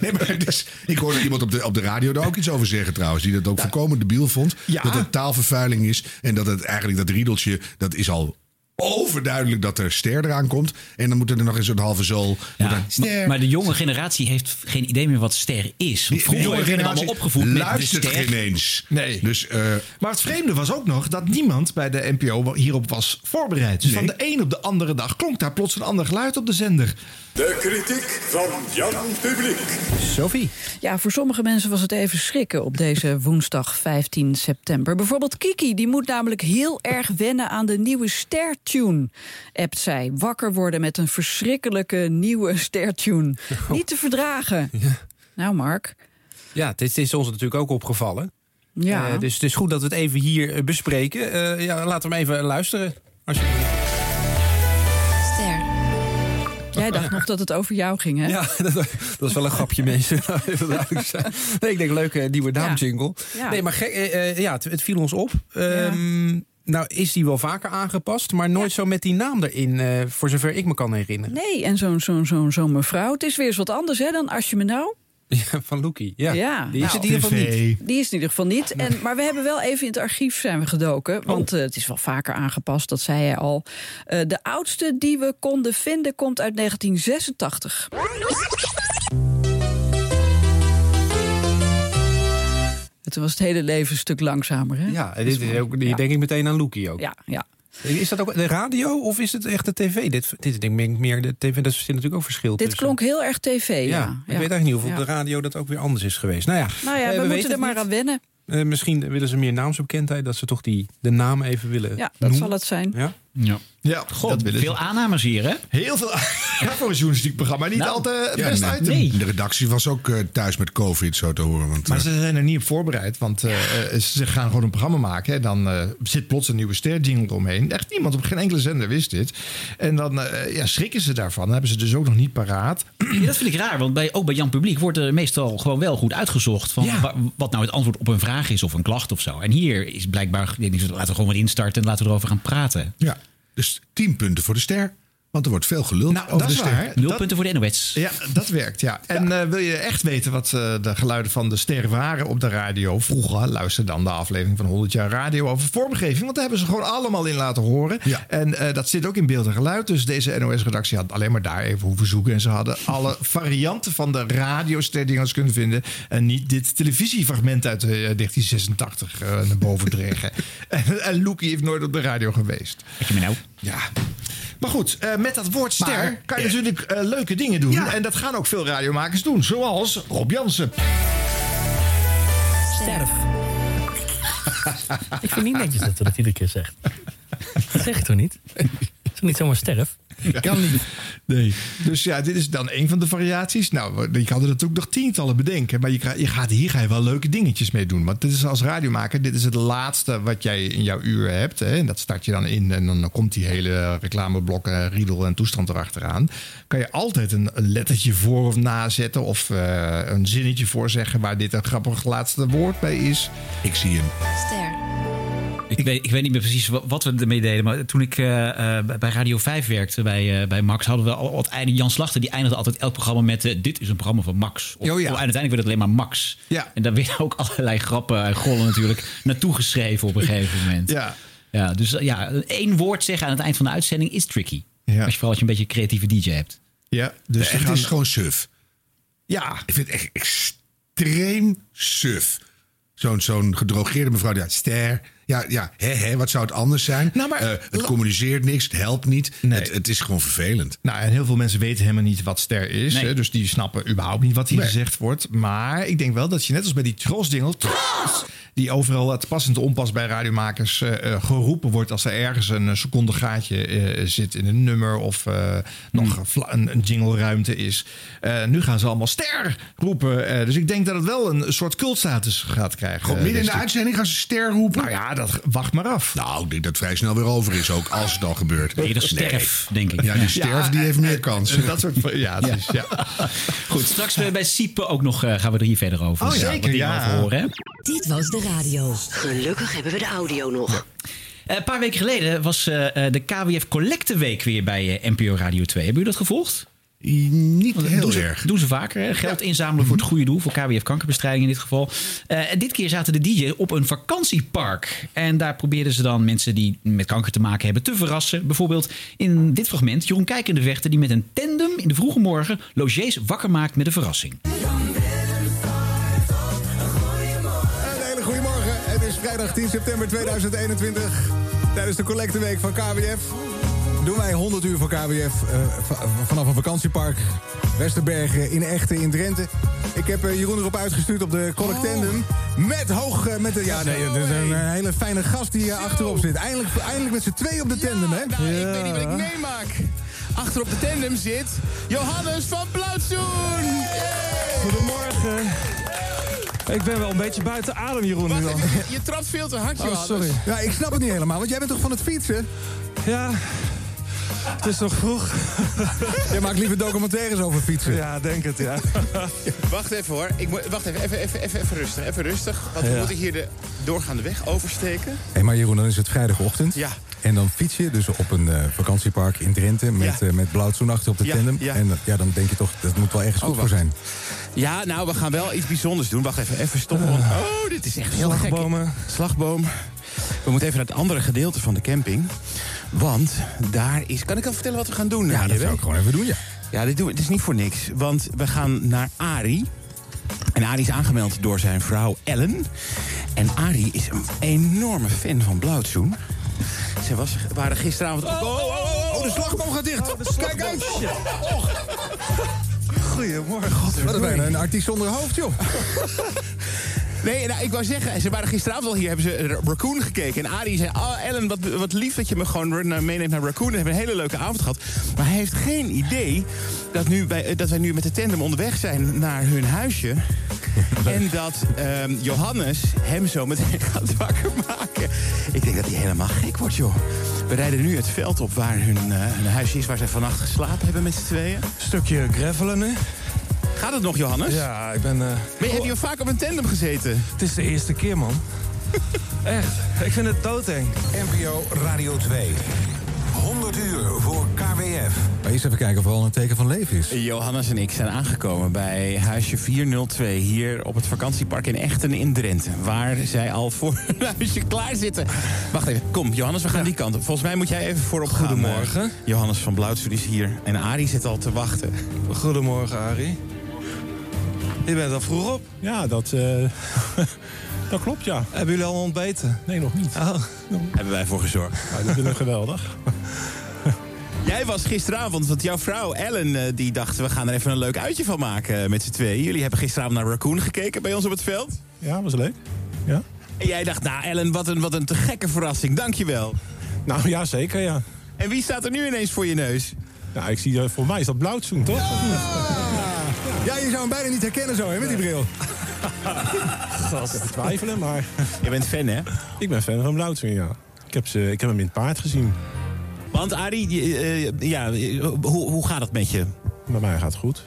S3: Nee, maar het is- ik hoorde iemand op de, op de radio daar ook iets over zeggen trouwens. Die dat ook voorkomen debiel vond. Dat het taalvervuiling is. En dat het eigenlijk dat riedeltje, dat is al overduidelijk dat er ster eraan komt. En dan moeten er nog eens een halve zool. moet er-
S4: Maar, maar de jonge generatie heeft geen idee meer wat ster is. Want
S3: Die- die
S4: Vroeger werden we allemaal opgevoed met de
S3: luistert
S4: ster. Nou.
S3: geen eens.
S6: Nee.
S3: Dus,
S6: maar het vreemde was ook nog dat niemand bij de NPO hierop was voorbereid. Dus
S19: Nee.
S6: van de een op de andere dag klonk daar plots een ander geluid op de zender.
S19: De kritiek van Jan Publiek.
S6: Sophie.
S18: Ja, voor sommige mensen was het even schrikken op deze woensdag 15 september. Bijvoorbeeld Kiki, die moet namelijk heel erg wennen aan de nieuwe stertune. Appt zij, wakker worden met een verschrikkelijke nieuwe stertune. Niet te verdragen. Nou, Mark.
S9: Ja, dit is ons natuurlijk ook opgevallen.
S18: Ja.
S9: Eh, dus het is goed dat we het even hier eh, bespreken. Eh, ja, laten we hem even luisteren. Als je...
S18: Ster. Jij dacht nog dat het over jou ging, hè?
S9: Ja, dat, dat is wel een grapje, mensen. Laat ik even duidelijk zijn. Nee, ik denk leuke eh, nieuwe daamjingle.
S18: Ja.
S9: Nee, maar gek, eh, eh, ja, het, het viel ons op. Ehm, Nou is die wel vaker aangepast, maar nooit zo met die naam erin, eh, voor zover ik me kan herinneren.
S18: Nee, en zo'n zo'n zo'n zo'n mevrouw. Het is weer eens wat anders, hè, dan als je me nou...
S9: Ja, van Loekie. Ja, die is
S18: nou,
S9: het in ieder geval niet.
S18: Die is het in ieder geval niet. En, maar we hebben wel even in het archief zijn we
S9: Oh.
S18: gedoken. Want eh, het is wel vaker aangepast, dat zei hij al. Eh, de oudste die we konden vinden komt uit 1986. En toen was het hele leven een stuk langzamer. Hè?
S9: Ja, en dit is ook, hier denk ik meteen aan Loekie ook.
S18: Ja, ja.
S9: Is dat ook de radio of is het echt de tv? Dit, dit denk ik meer de tv, dat zit natuurlijk ook verschil
S18: Dit
S9: tussen.
S18: klonk heel erg tv. Ja,
S9: ja, ik weet eigenlijk niet of op
S18: Ja.
S9: de radio dat ook weer anders is geweest. Nou ja,
S18: Nou
S9: eh,
S18: ja, we,
S9: weten
S18: moeten er
S9: het
S18: maar aan wennen.
S9: niet. Eh, misschien willen ze meer naamsbekendheid, dat ze toch die, de naam even willen
S18: Ja, dat
S9: noemen.
S18: zal het zijn.
S9: Ja?
S4: Ja.
S6: Ja, dat willen
S4: veel aannames hier, hè?
S6: Heel veel. Ja, voor een journalistiek programma niet
S4: Nou,
S6: altijd het
S4: ja,
S6: best
S4: nee.
S6: uit.
S4: Nee.
S3: eh, De redactie was ook eh, thuis met COVID, zo te horen. Want,
S6: Maar
S3: eh,
S6: ze zijn er niet op voorbereid, want eh, eh, ze gaan gewoon een programma maken. Hè. Dan eh, zit plots een nieuwe sterjingle omheen. Echt niemand op geen enkele zender wist dit. En dan eh, ja, schrikken ze daarvan. Dan hebben ze dus ook nog niet paraat.
S4: Ja, dat vind ik raar, want bij, ook bij Jan Publiek wordt er meestal gewoon wel goed uitgezocht van wa- wat nou het antwoord op een vraag is of een klacht of zo. En hier is blijkbaar, ik denk, laten we gewoon wat instarten en laten we erover gaan praten.
S3: Ja, dus 10 punten voor de ster. Want er wordt veel geluld
S4: Nou,
S3: over
S6: dat
S3: de
S6: is
S3: ster.
S6: waar. Nul Dat- punten
S4: voor de NOS.
S6: Ja, dat werkt, ja. En eh, wil je echt weten wat eh, de geluiden van de ster waren op de radio vroeger? Luister dan de aflevering van 100 jaar radio over vormgeving. Want daar hebben ze gewoon allemaal in laten horen. En eh, dat zit ook in beeld en geluid. Dus deze NOS-redactie had alleen maar daar even hoeven zoeken. En ze hadden alle varianten van de radioster die je ons kunnen vinden. En niet dit televisiefragment uit eh, 1986 eh, naar boven dreigen. en, en Loekie heeft nooit op de radio geweest.
S4: je me nou?
S6: Ja. Maar goed, eh, met dat woord ster
S3: Maar,
S6: kan je
S3: eh,
S6: natuurlijk eh, leuke dingen doen. En dat gaan ook veel radiomakers doen. Zoals Rob Jansen.
S18: Sterf.
S20: Ik vind het niet netjes dat hij dat iedere keer zegt. Dat zeg ik toch niet? Is het niet zomaar sterf?
S6: Ik kan niet. Nee. Dus ja, dit is dan een van de variaties. Nou, je kan er natuurlijk nog tientallen bedenken. Maar je, krijgt- je gaat, hier ga je wel leuke dingetjes mee doen. Want dit is als radiomaker, dit is het laatste wat jij in jouw uur hebt. Hè? En dat start je dan in. En dan komt die hele reclameblok, eh, riedel en toestand erachteraan. Kan je altijd een, een lettertje voor of nazetten. Of eh, een zinnetje voor zeggen waar dit een grappig laatste woord bij is.
S3: Ik zie hem.
S4: Ik, weet, ik weet niet meer precies wa- wat we ermee deden. Maar toen ik eh, eh, bij Radio 5 werkte, bij, eh, bij Max, hadden we al al het einde. Jan Slachter die eindigde altijd elk programma met: eh, Dit is een programma van Max. Of,
S6: Oh ja.
S4: En uiteindelijk werd het alleen maar Max.
S6: Ja.
S4: En daar werden ook allerlei grappen en gollen natuurlijk naartoe geschreven op een gegeven moment.
S6: Ja.
S4: Ja, dus eh, ja, één woord zeggen aan het eind van de uitzending is tricky.
S6: Ja.
S4: Als je vooral als je een beetje een creatieve DJ hebt.
S6: Ja,
S3: Dus
S6: dus
S3: het
S6: gaan-
S3: is gewoon suf.
S6: Ja.
S3: Ik vind het echt extreem suf. Zo'n zo'n gedrogeerde mevrouw die uit ster. Ja, ja hè, hè, wat zou het anders zijn? Eh, het communiceert niks, het helpt niet. Het, het is gewoon vervelend.
S6: Nou, en heel veel mensen weten helemaal niet wat ster is.
S3: Nee.
S6: Hè? Dus die snappen überhaupt niet wat hier
S3: Nee.
S6: gezegd wordt. Maar ik denk wel dat je net als bij die troostdingel... Troos! Die overal het passend onpas bij radiomakers eh, eh, geroepen wordt... als er ergens een eh, seconde gaatje eh, zit in een nummer... of eh, nog
S3: Hmm.
S6: een vla- een, een jingleruimte is. Eh, nu gaan ze allemaal ster roepen. Eh, dus ik denk dat het wel een soort cultstatus gaat krijgen.
S3: Gewoon
S6: eh,
S3: midden in
S6: dit
S3: de
S6: stuk.
S3: uitzending gaan ze ster roepen.
S6: Nou ja, dat, wacht maar af.
S3: Nou, ik denk dat het vrij snel weer over is ook, als het al gebeurt.
S4: Nee, dat sterf, denk ik.
S3: Ja, die
S4: Ja.
S3: sterf die heeft meer kans.
S6: Dat soort van- ja, het is- ja.
S4: Goed, straks bij, bij Siepe ook nog eh, gaan we er hier verder over.
S6: Oh,
S4: Dus,
S6: zeker,
S4: wat die
S6: ja.
S4: over horen, hè?
S16: Dit was de radio. Gelukkig hebben we de audio nog.
S4: Eh, Een paar weken geleden was eh, eh, de KWF Collecteweek weer bij eh, NPO Radio 2. Hebben jullie dat gevolgd?
S3: Niet heel Mhm.
S4: Doen ze ze, Doen ze vaker. hè. Geld inzamelen voor het goede doel. Voor KWF kankerbestrijding in dit geval. Eh, en dit keer zaten de DJ op een vakantiepark. En daar probeerden ze dan mensen die met kanker te maken hebben te verrassen. Bijvoorbeeld in dit fragment Jeroen Kijk in de Vechten. Die met een tandem in de vroege morgen logees wakker maakt met een verrassing.
S21: Een hele goede morgen. Het is vrijdag 10 september 2021. Tijdens de collecteweek van KWF doen wij 100 uur voor KWF eh, va- vanaf een vakantiepark Westerbergen in Echten in Drenthe. Ik heb eh, Jeroen erop uitgestuurd op de
S11: Oh.
S21: collectendum. Met hoog... eh, met de, ja, nee, dat is een eh, hele fijne gast die hier achterop zit. Eindelijk, eindelijk met z'n twee op de tandem, hè?
S22: Ik weet niet wat ik
S21: Eh.
S22: meemaak. Achter op de tandem zit Johannes van Blauwzoen.
S11: Goedemorgen. Ik ben wel een beetje buiten adem, Jeroen. Nu al.
S22: Je trapt veel te hard,
S11: Oh,
S22: Johannes.
S11: sorry.
S21: Ja, ik snap het niet helemaal, want jij bent toch van het fietsen? Ja, het is nog vroeg. Jij maakt liever documentaires over fietsen. Ja, denk het, ja.
S22: Wacht even hoor. Ik moet, wacht even, even, even, even, even rustig. Even rustig. Want we
S21: Ja.
S22: moeten hier de doorgaande weg oversteken.
S21: Hé, maar Jeroen, dan is het vrijdagochtend.
S22: Ja.
S21: En dan fiets je dus op een eh, vakantiepark in Drenthe... met,
S22: Ja.
S21: eh met blauwtsoen achter op de
S22: Ja,
S21: tandem.
S22: ja.
S21: En eh, ja, dan denk je toch, dat moet wel ergens
S22: Oh,
S21: goed voor
S22: wacht.
S21: zijn.
S22: Ja, nou, we gaan wel iets bijzonders doen. Wacht even, even stoppen. want- Oh, dit is echt heel
S21: Slagbomen.
S22: gek. Slagboom. We moeten even naar het andere gedeelte van de camping. Want daar is... Kan ik al vertellen wat we gaan doen? Ja, dat zou ik
S21: gewoon even doen, ja.
S22: Ja, dit doen we. Het is niet voor niks. Want we gaan naar Ari. En Ari is aangemeld door zijn vrouw Ellen. En Ari is een enorme fan van Blauwtsoen. Ze was, waren gisteravond... Oh, oh, oh, oh, oh, de slagboom gaat dicht. Kijk uit.
S21: Goedemorgen. Wat een bijna een artiest zonder hoofd, joh.
S22: Nee, nou, ik wou zeggen, ze waren gisteravond al hier, hebben ze R- Raccoon gekeken. En Arie zei, oh, Ellen, wat, wat lief dat je me gewoon r- naar- meeneemt naar Raccoon. We hebben een hele leuke avond gehad. Maar hij heeft geen idee dat, nu wij, dat wij nu met de tandem onderweg zijn naar hun huisje. En dat ehm, Johannes hem zo meteen gaat wakker maken. Ik denk dat hij helemaal gek wordt, joh. We rijden nu het veld op waar hun, eh, hun huisje is, waar zij vannacht geslapen hebben met z'n tweeën.
S21: Stukje gravelen, hè?
S22: Gaat het nog, Johannes?
S21: Ja, ik ben...
S22: Maar heb je vaak op een tandem gezeten?
S11: eh, Het is de eerste keer, man. Echt. Ik vind het doodeng.
S21: NPO Radio 2. 100 uur voor KWF. Maar eerst even kijken of er al een teken van leven is.
S22: Johannes en ik zijn aangekomen bij huisje 402 hier op het vakantiepark in Echten in Drenthe. Waar zij al voor een huisje klaar zitten. Wacht even, kom Johannes, we gaan die kant op. Volgens mij moet jij even voorop gaan.
S11: Goedemorgen.
S22: Johannes van Blauwtsoen is hier en Arie zit al te wachten.
S11: Goedemorgen, Arie. Je bent al vroeg op. Ja, dat, eh, dat klopt, ja. Hebben jullie al ontbeten? Nee, nog niet. Oh.
S22: Hebben wij voor gezorgd.
S11: dat vind ik geweldig.
S22: Jij was gisteravond, want jouw vrouw Ellen eh, die dacht... we gaan er even een leuk uitje van maken eh, met z'n tweeën. Jullie hebben gisteravond naar Raccoon gekeken bij ons op het veld.
S11: Ja, was leuk. Ja.
S22: En jij dacht, nou Ellen, wat een, wat een te gekke verrassing. Dankjewel.
S11: Nou ja, zeker, ja.
S22: En wie staat er nu ineens voor je neus?
S11: Nou, ik zie, eh, voor mij is dat blauwtsoen, toch? Of niet?
S21: Ja, je zou hem bijna niet herkennen zo, hè, met die bril.
S11: Gast. Ik twijfelen, maar...
S22: Je bent fan, hè?
S11: Ik ben fan van blauwtsoen, ja. Ik heb, ze, ik heb hem in het paard gezien.
S22: Want Arie, je, eh, ja, eh, hoe, hoe gaat het met je?
S11: Bij mij gaat het goed.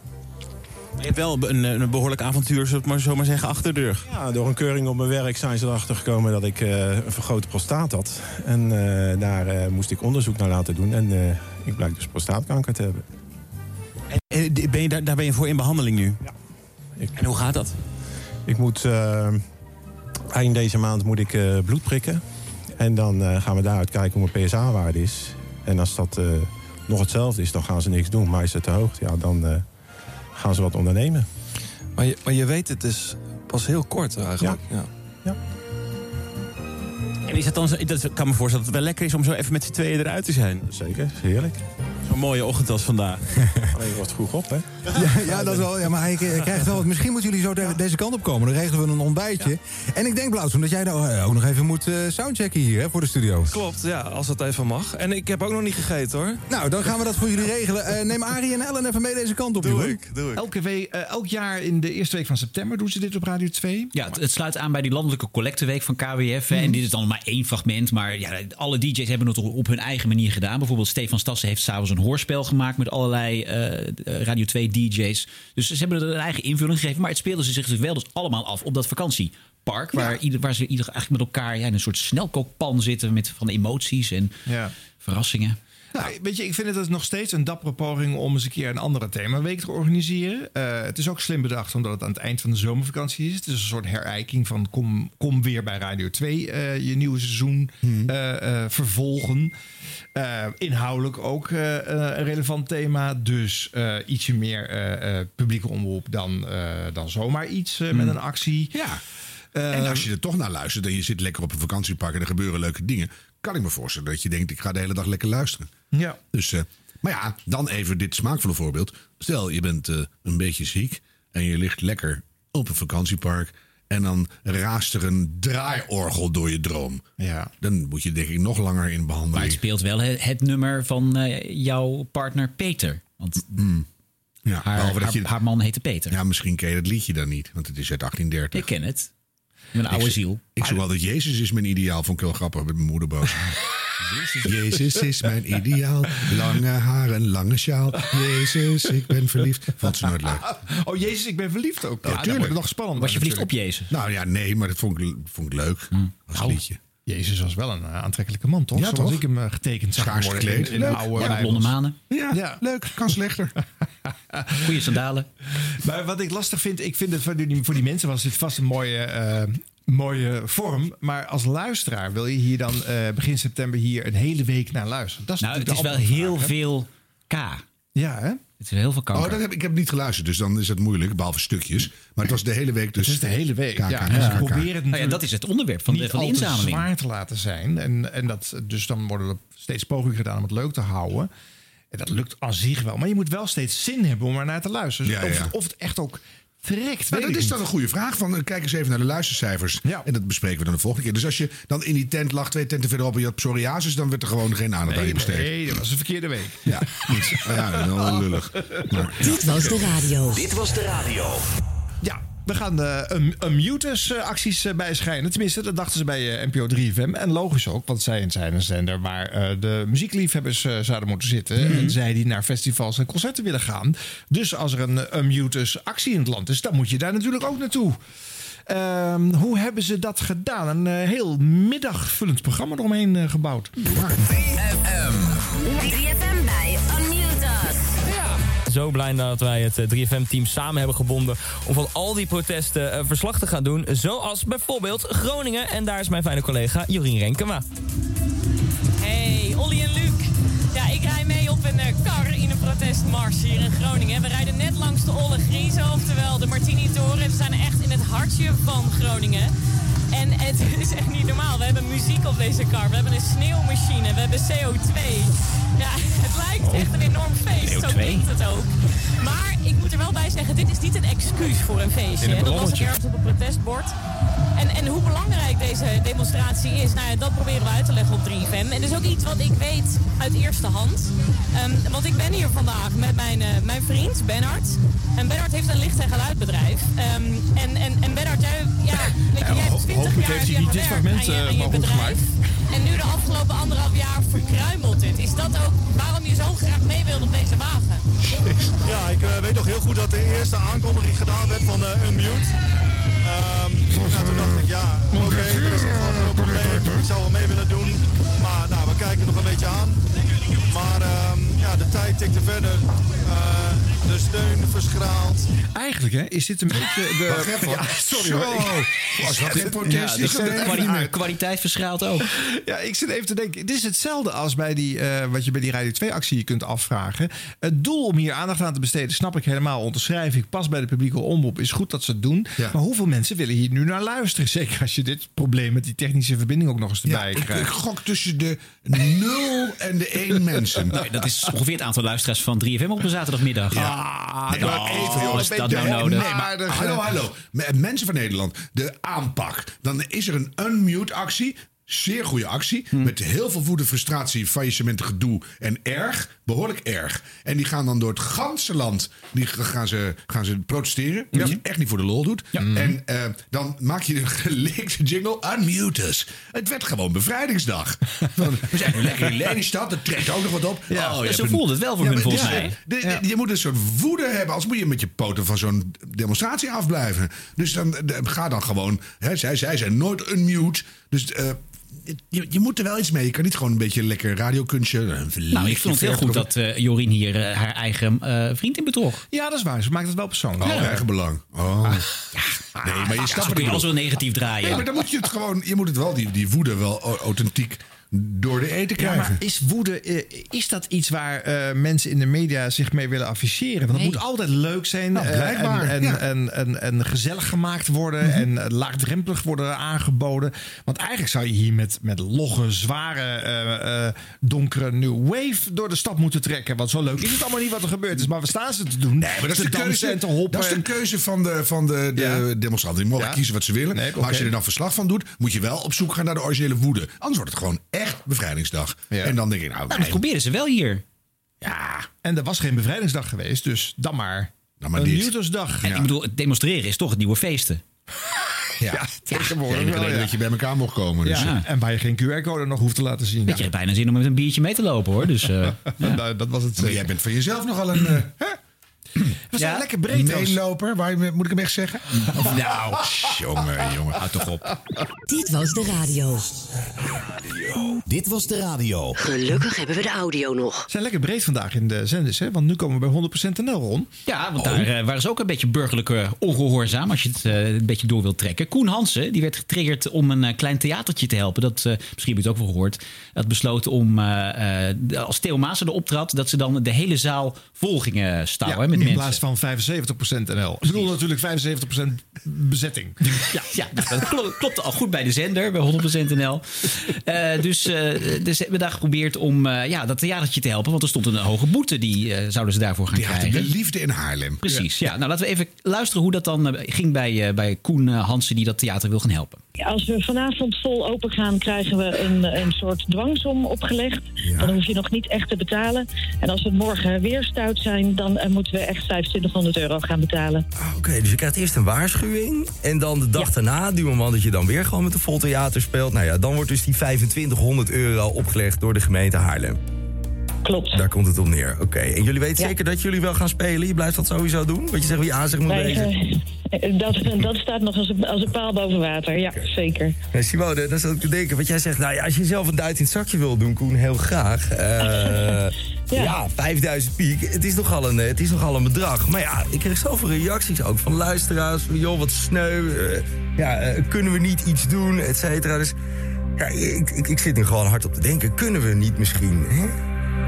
S22: Je hebt wel een, eh, een behoorlijk avontuur, zullen we het maar zomaar zeggen, achter de rug.
S11: Ja, door een keuring op mijn werk zijn ze erachter gekomen dat ik eh, een vergrote prostaat had. En eh, daar eh, moest ik onderzoek naar laten doen. En eh, ik blijk dus prostaatkanker te hebben.
S22: Eh, d- Ben je, daar, daar ben je voor in behandeling nu? Ja. En hoe gaat dat?
S11: Ik moet eh, eind deze maand moet ik eh, bloed prikken. En dan eh, gaan we daaruit kijken hoe mijn PSA-waarde is. En als dat eh, nog hetzelfde is, dan gaan ze niks doen. Maar is het te hoog, ja, dan eh, gaan ze wat ondernemen.
S23: Maar je, maar je weet, het is pas heel kort eigenlijk. Ja.
S22: En is het dan, zo- dat kan me voorstellen dat het wel lekker is om zo even met z'n tweeën eruit te zijn.
S11: Zeker, heerlijk.
S22: Zo'n mooie ochtend als vandaag.
S11: Alleen je wordt goed op, hè?
S21: Ja, ja, dat wel. Ja, maar hij hij krijgt wel wat. Misschien moeten jullie zo de- deze kant op komen. Dan regelen we een ontbijtje. En ik denk, Blauwtsoen, dat jij nou eh, ook nog even moet eh, soundchecken hier hè, voor de studio.
S23: Klopt, ja, als dat even mag. En ik heb ook nog niet gegeten hoor.
S21: Nou, dan gaan we dat voor jullie regelen. Eh, neem Arie en Ellen even mee deze kant op, jongen.
S6: Elke week, eh, elk jaar in de eerste week van september doen ze dit op Radio 2.
S4: Ja, het, het sluit aan bij die landelijke collecteweek van KWF. hè. En dit is dan maar één fragment. Maar ja, alle DJ's hebben het op hun eigen manier gedaan. Bijvoorbeeld Stefan Stassen heeft s'avonds een hoorspel gemaakt... met allerlei eh, Radio 2 DJ's. Dus ze hebben er een eigen invulling gegeven. Maar het speelden ze zich dus wel dus allemaal af op dat vakantiepark... Waar, ieder, waar ze ieder eigenlijk met elkaar ja, in een soort snelkookpan zitten... Met, van emoties en verrassingen.
S6: Nou, weet je, ik vind het nog steeds een dappere poging om eens een keer een andere themaweek te organiseren. Eh, het is ook slim bedacht omdat het aan het eind van de zomervakantie is. Het is een soort herijking van kom, kom weer bij Radio 2 eh, je nieuwe seizoen
S21: Hmm.
S6: eh, eh, vervolgen. Eh, inhoudelijk ook eh, eh, een relevant thema. Dus eh, ietsje meer eh, eh, publieke omroep dan, eh, dan zomaar iets eh, met
S3: Hmm.
S6: een actie.
S3: Ja.
S6: Ehm,
S3: en als je er toch naar luistert en je zit lekker op een vakantiepark en er gebeuren leuke dingen, kan ik me voorstellen dat je denkt: ik ga de hele dag lekker luisteren.
S6: Ja.
S3: Dus, eh, maar ja, dan even dit smaakvolle voorbeeld. Stel, je bent eh, een beetje ziek en je ligt lekker op een vakantiepark. En dan raast er een draaiorgel door je droom.
S6: Ja.
S3: Dan moet je denk ik nog langer in
S4: Maar het
S3: behandeling.
S4: speelt wel het, het nummer van eh, jouw partner Peter. Want
S3: Mm. Ja,
S4: haar,
S3: behalve dat
S4: haar,
S3: je-
S4: haar man heette Peter.
S3: Ja, misschien ken je dat liedje dan niet, want het is uit 1830. Ik
S4: ken het. Mijn oude
S3: ik,
S4: ziel.
S3: Ik zoek altijd Jezus is mijn ideaal, vond ik heel grappig met mijn moeder boos. Jezus is mijn ideaal. Lange haren, lange sjaal. Jezus, ik ben verliefd. Vond ze
S4: Ah,
S3: nooit leuk.
S6: Oh jezus, ik ben verliefd ook. Ja, dat wordt nog spannend.
S4: Jezus?
S3: Nou ja, nee, maar dat vond ik, vond ik leuk.
S4: Hmm.
S3: Als liedje.
S6: Jezus was wel een eh, aantrekkelijke man, toch?
S3: Ja,
S6: Zoals
S3: toch?
S6: ik hem eh, getekend zag
S3: Schaars
S6: worden
S3: gekleed.
S6: in, in de
S3: Leuk.
S6: oude
S3: Ja, met
S6: Bijbels.
S4: blonde manen.
S3: Ja, leuk. Kan slechter.
S4: Goeie sandalen.
S6: Maar wat ik lastig vind, ik vind het voor die, voor die mensen was dit vast een mooie, eh, mooie vorm. Maar als luisteraar wil je hier dan eh, begin september hier een hele week naar luisteren. Dat is
S4: Nou, het is wel
S6: natuurlijk de
S4: heel
S6: andere vraag,
S4: veel K.
S6: hè? Ja, hè?
S4: Het is heel veel kanker.
S3: Oh, dat heb, ik heb niet geluisterd, dus dan is het moeilijk, behalve stukjes. Maar het was de hele week dus.
S6: Het is de hele week.
S3: KK,
S6: ja,
S3: KK.
S6: dus probeer het natuurlijk
S4: Nou ja, dat is het onderwerp van de-
S6: niet
S4: van de
S6: al te
S4: inzameling.
S6: zwaar te laten zijn. En, en dat, dus dan worden er steeds pogingen gedaan om het leuk te houden. En dat lukt aan zich wel. Maar je moet wel steeds zin hebben om er naar te luisteren. Dus
S3: Ja,
S6: of,
S3: ja.
S6: Het, of het echt ook trekt.
S3: Maar
S6: weet
S3: dat
S6: ik
S3: is dan
S6: niet.
S3: een goede vraag. Van, eh, kijk eens even naar de luistercijfers. En dat bespreken we dan de volgende keer. Dus als je dan in die tent lag, twee tenten verderop en je had psoriasis, dan werd er gewoon geen aandacht aan je besteed.
S6: Nee, dat was een verkeerde week.
S3: Ja, niet. Ah ja, wel lullig. Maar-
S6: Dit was de radio.
S24: Dit was de radio.
S6: Ja, we gaan de um, acties eh, bijschijnen. Tenminste, dat dachten ze bij eh, NPO 3FM. En logisch ook, want zij zijn een zender waar eh, de muziekliefhebbers eh, zouden moeten zitten. En zij die naar festivals en concerten willen gaan. Dus als er een Unmutus actie in het land is, dan moet je daar natuurlijk ook naartoe. Ehm, hoe hebben ze dat gedaan? Een eh, heel middagvullend programma eromheen eh, gebouwd.
S24: FM. 3FM bij Unmute Us. Ja.
S13: Zo blij dat wij het eh, 3FM-team samen hebben gebonden om van al die protesten eh, verslag te gaan doen. Zoals bijvoorbeeld Groningen. En daar is mijn fijne collega Jorien Renkema.
S25: Hey, Olly en Luc. Ja, ik rij mee op een eh, kar in een protestmars hier in Groningen. We rijden net langs de Olle Griezen, oftewel de Martini-toren. We zijn echt in het hartje van Groningen. En het is echt niet normaal. We hebben muziek op deze kar. We hebben een sneeuwmachine. We hebben CO2. Ja, het lijkt
S13: Oh.
S25: echt een enorm feest. Zo
S13: CO2.
S25: klinkt het ook. Maar ik moet er wel bij zeggen, dit is niet een excuus voor een feestje.
S13: In een
S25: hè. Dat was
S13: ballonnetje.
S25: ergens op een protestbord. En, en hoe belangrijk deze demonstratie is, nou ja, dat proberen we uit te leggen op 3FM. En dat is ook iets wat ik weet uit eerste hand. Ehm, want ik ben hier vandaag met mijn, eh, mijn vriend Bernard. En Bernard heeft een licht- en geluidbedrijf. Ehm, en, en, en Bernard, jij, ja, weet je, jij hebt 20 jaar
S6: hopelijk heeft hij
S25: heb je
S6: niet dit eh,
S25: gewerkt
S6: fragment,
S25: aan je-
S6: eh,
S25: aan je
S6: maar goed
S25: bedrijf. En nu de afgelopen anderhalf jaar verkruimelt dit. Is dat ook waarom je zo graag mee wilde op deze wagen?
S7: Ja, ik eh, weet nog heel goed dat de eerste aankondiging gedaan werd van eh Unmute. Ehm nou, toen dacht ik, ja, oké, dat is een groot probleem. Ik zou wel mee willen doen. Maar nou, we kijken nog een beetje aan. Maar ehm, ja, de tijd tikte verder. Eh, de steun verschraalt.
S6: Eigenlijk hè, is dit een beetje... De...
S7: Wacht even, hoor.
S6: Ja, sorry hoor. Ik...
S7: Zo. Als dat in protest is,
S6: dus
S7: dan
S6: de
S7: even
S6: kwali-
S7: niet meer.
S4: kwaliteit verschaalt ook.
S6: Ja, ik zit even te denken. Het is hetzelfde als bij die, eh, wat je bij die Radio 2-actie je kunt afvragen. Het doel om hier aandacht aan te besteden, snap ik helemaal. Onderschrijf ik pas bij de publieke omroep. Is goed dat ze het doen. Maar hoeveel mensen willen hier nu naar luisteren? Zeker als je dit probleem met die technische verbinding ook nog eens
S3: Ja,
S6: erbij
S3: ik, ik
S6: krijgt.
S3: gok tussen de 0 en de 1 mensen.
S4: Nou, dat is ongeveer het aantal luisteraars van 3FM op een zaterdagmiddag.
S3: Ja. maar
S4: Nee, oh,
S3: Ah, even, joh,
S4: is
S3: een
S4: dat
S3: beetje-
S4: nou nodig?
S3: Nee, maar hallo, hallo. M- Mensen van Nederland, de aanpak. Dan is er een unmute-actie. Zeer goede actie. Met heel veel woede, frustratie, faillissement, gedoe. En erg, behoorlijk erg. En die gaan dan door het ganse land die g- gaan ze, gaan ze protesteren. Wat je echt niet voor de lol doet. En eh, dan maak je een geleekte jingle. Unmute us. Het werd gewoon bevrijdingsdag. Van, we zijn nu lekker in Lelystad. Dat trekt ook nog wat op. Oh,
S4: Ja,
S3: je
S4: ze
S3: hebt een-
S4: voelden het wel voor hun,
S3: maar
S4: volgens
S3: dit-
S4: mij.
S3: dit- dit- Je moet een soort woede hebben, anders moet je met je poten van zo'n demonstratie afblijven. Dus dan eh, ga dan gewoon. Hè, zij, zij zijn nooit unmute. Dus eh, je, je moet er wel iets mee. Je kan niet gewoon een beetje lekker radiokunstje. eh,
S4: Nou, ik vond het heel goed dat eh, Jorien hier eh, haar eigen eh, vriend in betrok.
S6: Ja, dat is waar. Ze maakt het wel persoonlijk.
S4: Ja. Ah.
S3: eigen belang. Oh. nee, maar je
S4: ja,
S3: snapt
S4: zo
S3: het
S4: kun je alles wel negatief draaien.
S3: Nee, maar dan moet je het gewoon, je moet het wel, die, die woede wel au- authentiek door de eten
S6: Ja,
S3: krijgen.
S6: maar is woede, eh, is dat iets waar eh, mensen in de media zich mee willen afficheren? Want het
S3: Nee.
S6: moet altijd leuk zijn
S3: Nou,
S6: eh,
S3: blijkbaar,
S6: en, en,
S3: ja. Mhm.
S6: en, en, en gezellig gemaakt worden en eh, laagdrempelig worden aangeboden. Want eigenlijk zou je hier met, met logge, zware, eh, eh, donkere new wave door de stad moeten trekken. Want zo leuk is het allemaal niet wat er gebeurd is. Maar we staan ze te doen.
S3: Nee, maar dat is,
S6: te
S3: de keuze,
S6: dansen en te hoppen.
S3: dat is de
S6: en-
S3: keuze van de, van de, de demonstranten. Die mogen kiezen wat ze willen.
S6: Nee,
S3: Maar als je
S6: oké.
S3: er dan verslag van doet, moet je wel op zoek gaan naar de originele woede. Anders wordt het gewoon echt bevrijdingsdag. En dan denk ik, nou,
S4: dat proberen ze wel hier.
S6: Ja, en er was geen bevrijdingsdag geweest, dus dan maar.
S3: Dan Nou, maar
S6: een
S3: dit.
S6: Nieuwsdag.
S4: En ik bedoel, het demonstreren is toch het nieuwe feesten.
S3: Ja, Ja,
S6: tegenwoordig
S3: de enige
S6: wel,
S3: reden
S6: ja.
S3: dat je bij elkaar mocht komen. Dus.
S6: Ja, En waar je geen QR-code nog hoeft te laten zien.
S4: Weet je, bijna zin om met een biertje mee te lopen hoor. Dus,
S6: dat, was het.
S3: Maar jij bent van jezelf nogal een. eh, hè?
S6: We
S3: zijn lekker breed. Meeloper, waar, moet ik hem echt zeggen? Of, nou, jongen, jongen. Houd toch op.
S10: Dit was de radio.
S12: Dit was de radio.
S10: Gelukkig hebben we de audio nog.
S6: We zijn lekker breed vandaag in de zenders, hè? Want nu komen we bij 100% NL rond.
S4: Ja, want
S6: Oh,
S4: daar eh, waren ze ook een beetje burgerlijke ongehoorzaam. Als je het eh, een beetje door wilt trekken. Koen Hansen die werd getriggerd om een eh, klein theatertje te helpen. Dat, eh, misschien heb je het ook wel gehoord. Dat besloot om, eh, eh, de- als Theo Maassen erop trad... dat ze dan de hele zaal vol gingen stouwen hè,
S6: in
S4: met mensen.
S6: plaats van 75% NL. Ik bedoel natuurlijk 75% bezetting.
S4: Ja, ja nou, dat klo- klopte al goed bij de zender, bij 100% NL. Eh, dus, eh, dus hebben we daar geprobeerd om eh, ja, dat theatertje te helpen. Want er stond een hoge boete, die eh, zouden ze daarvoor gaan
S3: Die had
S4: krijgen.
S3: de liefde in Haarlem.
S4: Precies, ja. Nou, laten we even luisteren hoe dat dan eh, ging bij, eh, bij Koen eh, Hansen... die dat theater wil gaan helpen.
S26: Als we vanavond vol open gaan, krijgen we een, een soort dwangsom opgelegd. Dan hoef je nog niet echt te betalen. En als we morgen weer stout zijn, dan eh, moeten we echt 2500 euro gaan betalen.
S27: Oké, dus je krijgt eerst een waarschuwing. En dan de dag daarna, duwen man dat je dan weer gewoon met een vol theater speelt. Nou ja, dan wordt dus die 2500 euro opgelegd door de gemeente Haarlem.
S26: Klopt.
S27: Daar komt het op neer. Oké, en jullie weten
S26: Ja.
S27: zeker dat jullie wel gaan spelen? Je blijft dat sowieso doen? Wat je zegt, wie aanzicht moet
S26: Wij,
S27: wezen?
S26: eh, eh, dat, dat staat nog als een, als een paal boven water. Ja, zeker.
S27: Nee, Simone, dan zat ik te denken, want jij zegt, nou ja, als je zelf een duit in het zakje wil doen, Koen, heel graag. Eh, ja. 5000 piek, het is, nogal een, eh, het is nogal een bedrag. Maar ja, ik kreeg zoveel reacties ook van luisteraars, van joh, wat sneu, eh, ja, eh, kunnen we niet iets doen, et cetera. Dus ja, ik, ik, ik zit nu gewoon hard op te denken, kunnen we niet misschien, hè?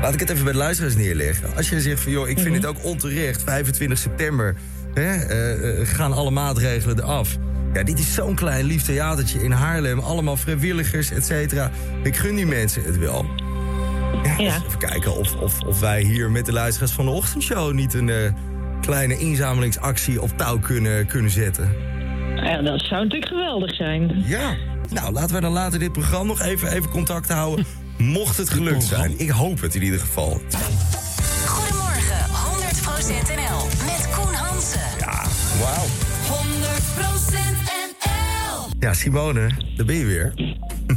S27: Laat ik het even bij de luisteraars neerleggen. Als je zegt van joh, ik vind het ook onterecht, 25 september hè, eh, eh, gaan alle maatregelen eraf. Ja, dit is zo'n klein lief theatertje in Haarlem. Allemaal vrijwilligers, et cetera. Ik gun die mensen het wel. Ja, dus Even kijken of, of, of wij hier met de luisteraars van de ochtendshow... niet een eh, kleine inzamelingsactie op touw kunnen, kunnen zetten.
S26: Ja, dat zou natuurlijk geweldig zijn.
S27: Ja, nou laten wij dan later dit programma nog even, even contact houden. Mocht het gelukt zijn. Ik hoop het in ieder geval.
S10: Goedemorgen, 100% NL. Met Koen Hansen.
S27: Ja, wauw.
S10: 100% NL.
S27: Ja, Simone, daar ben je weer.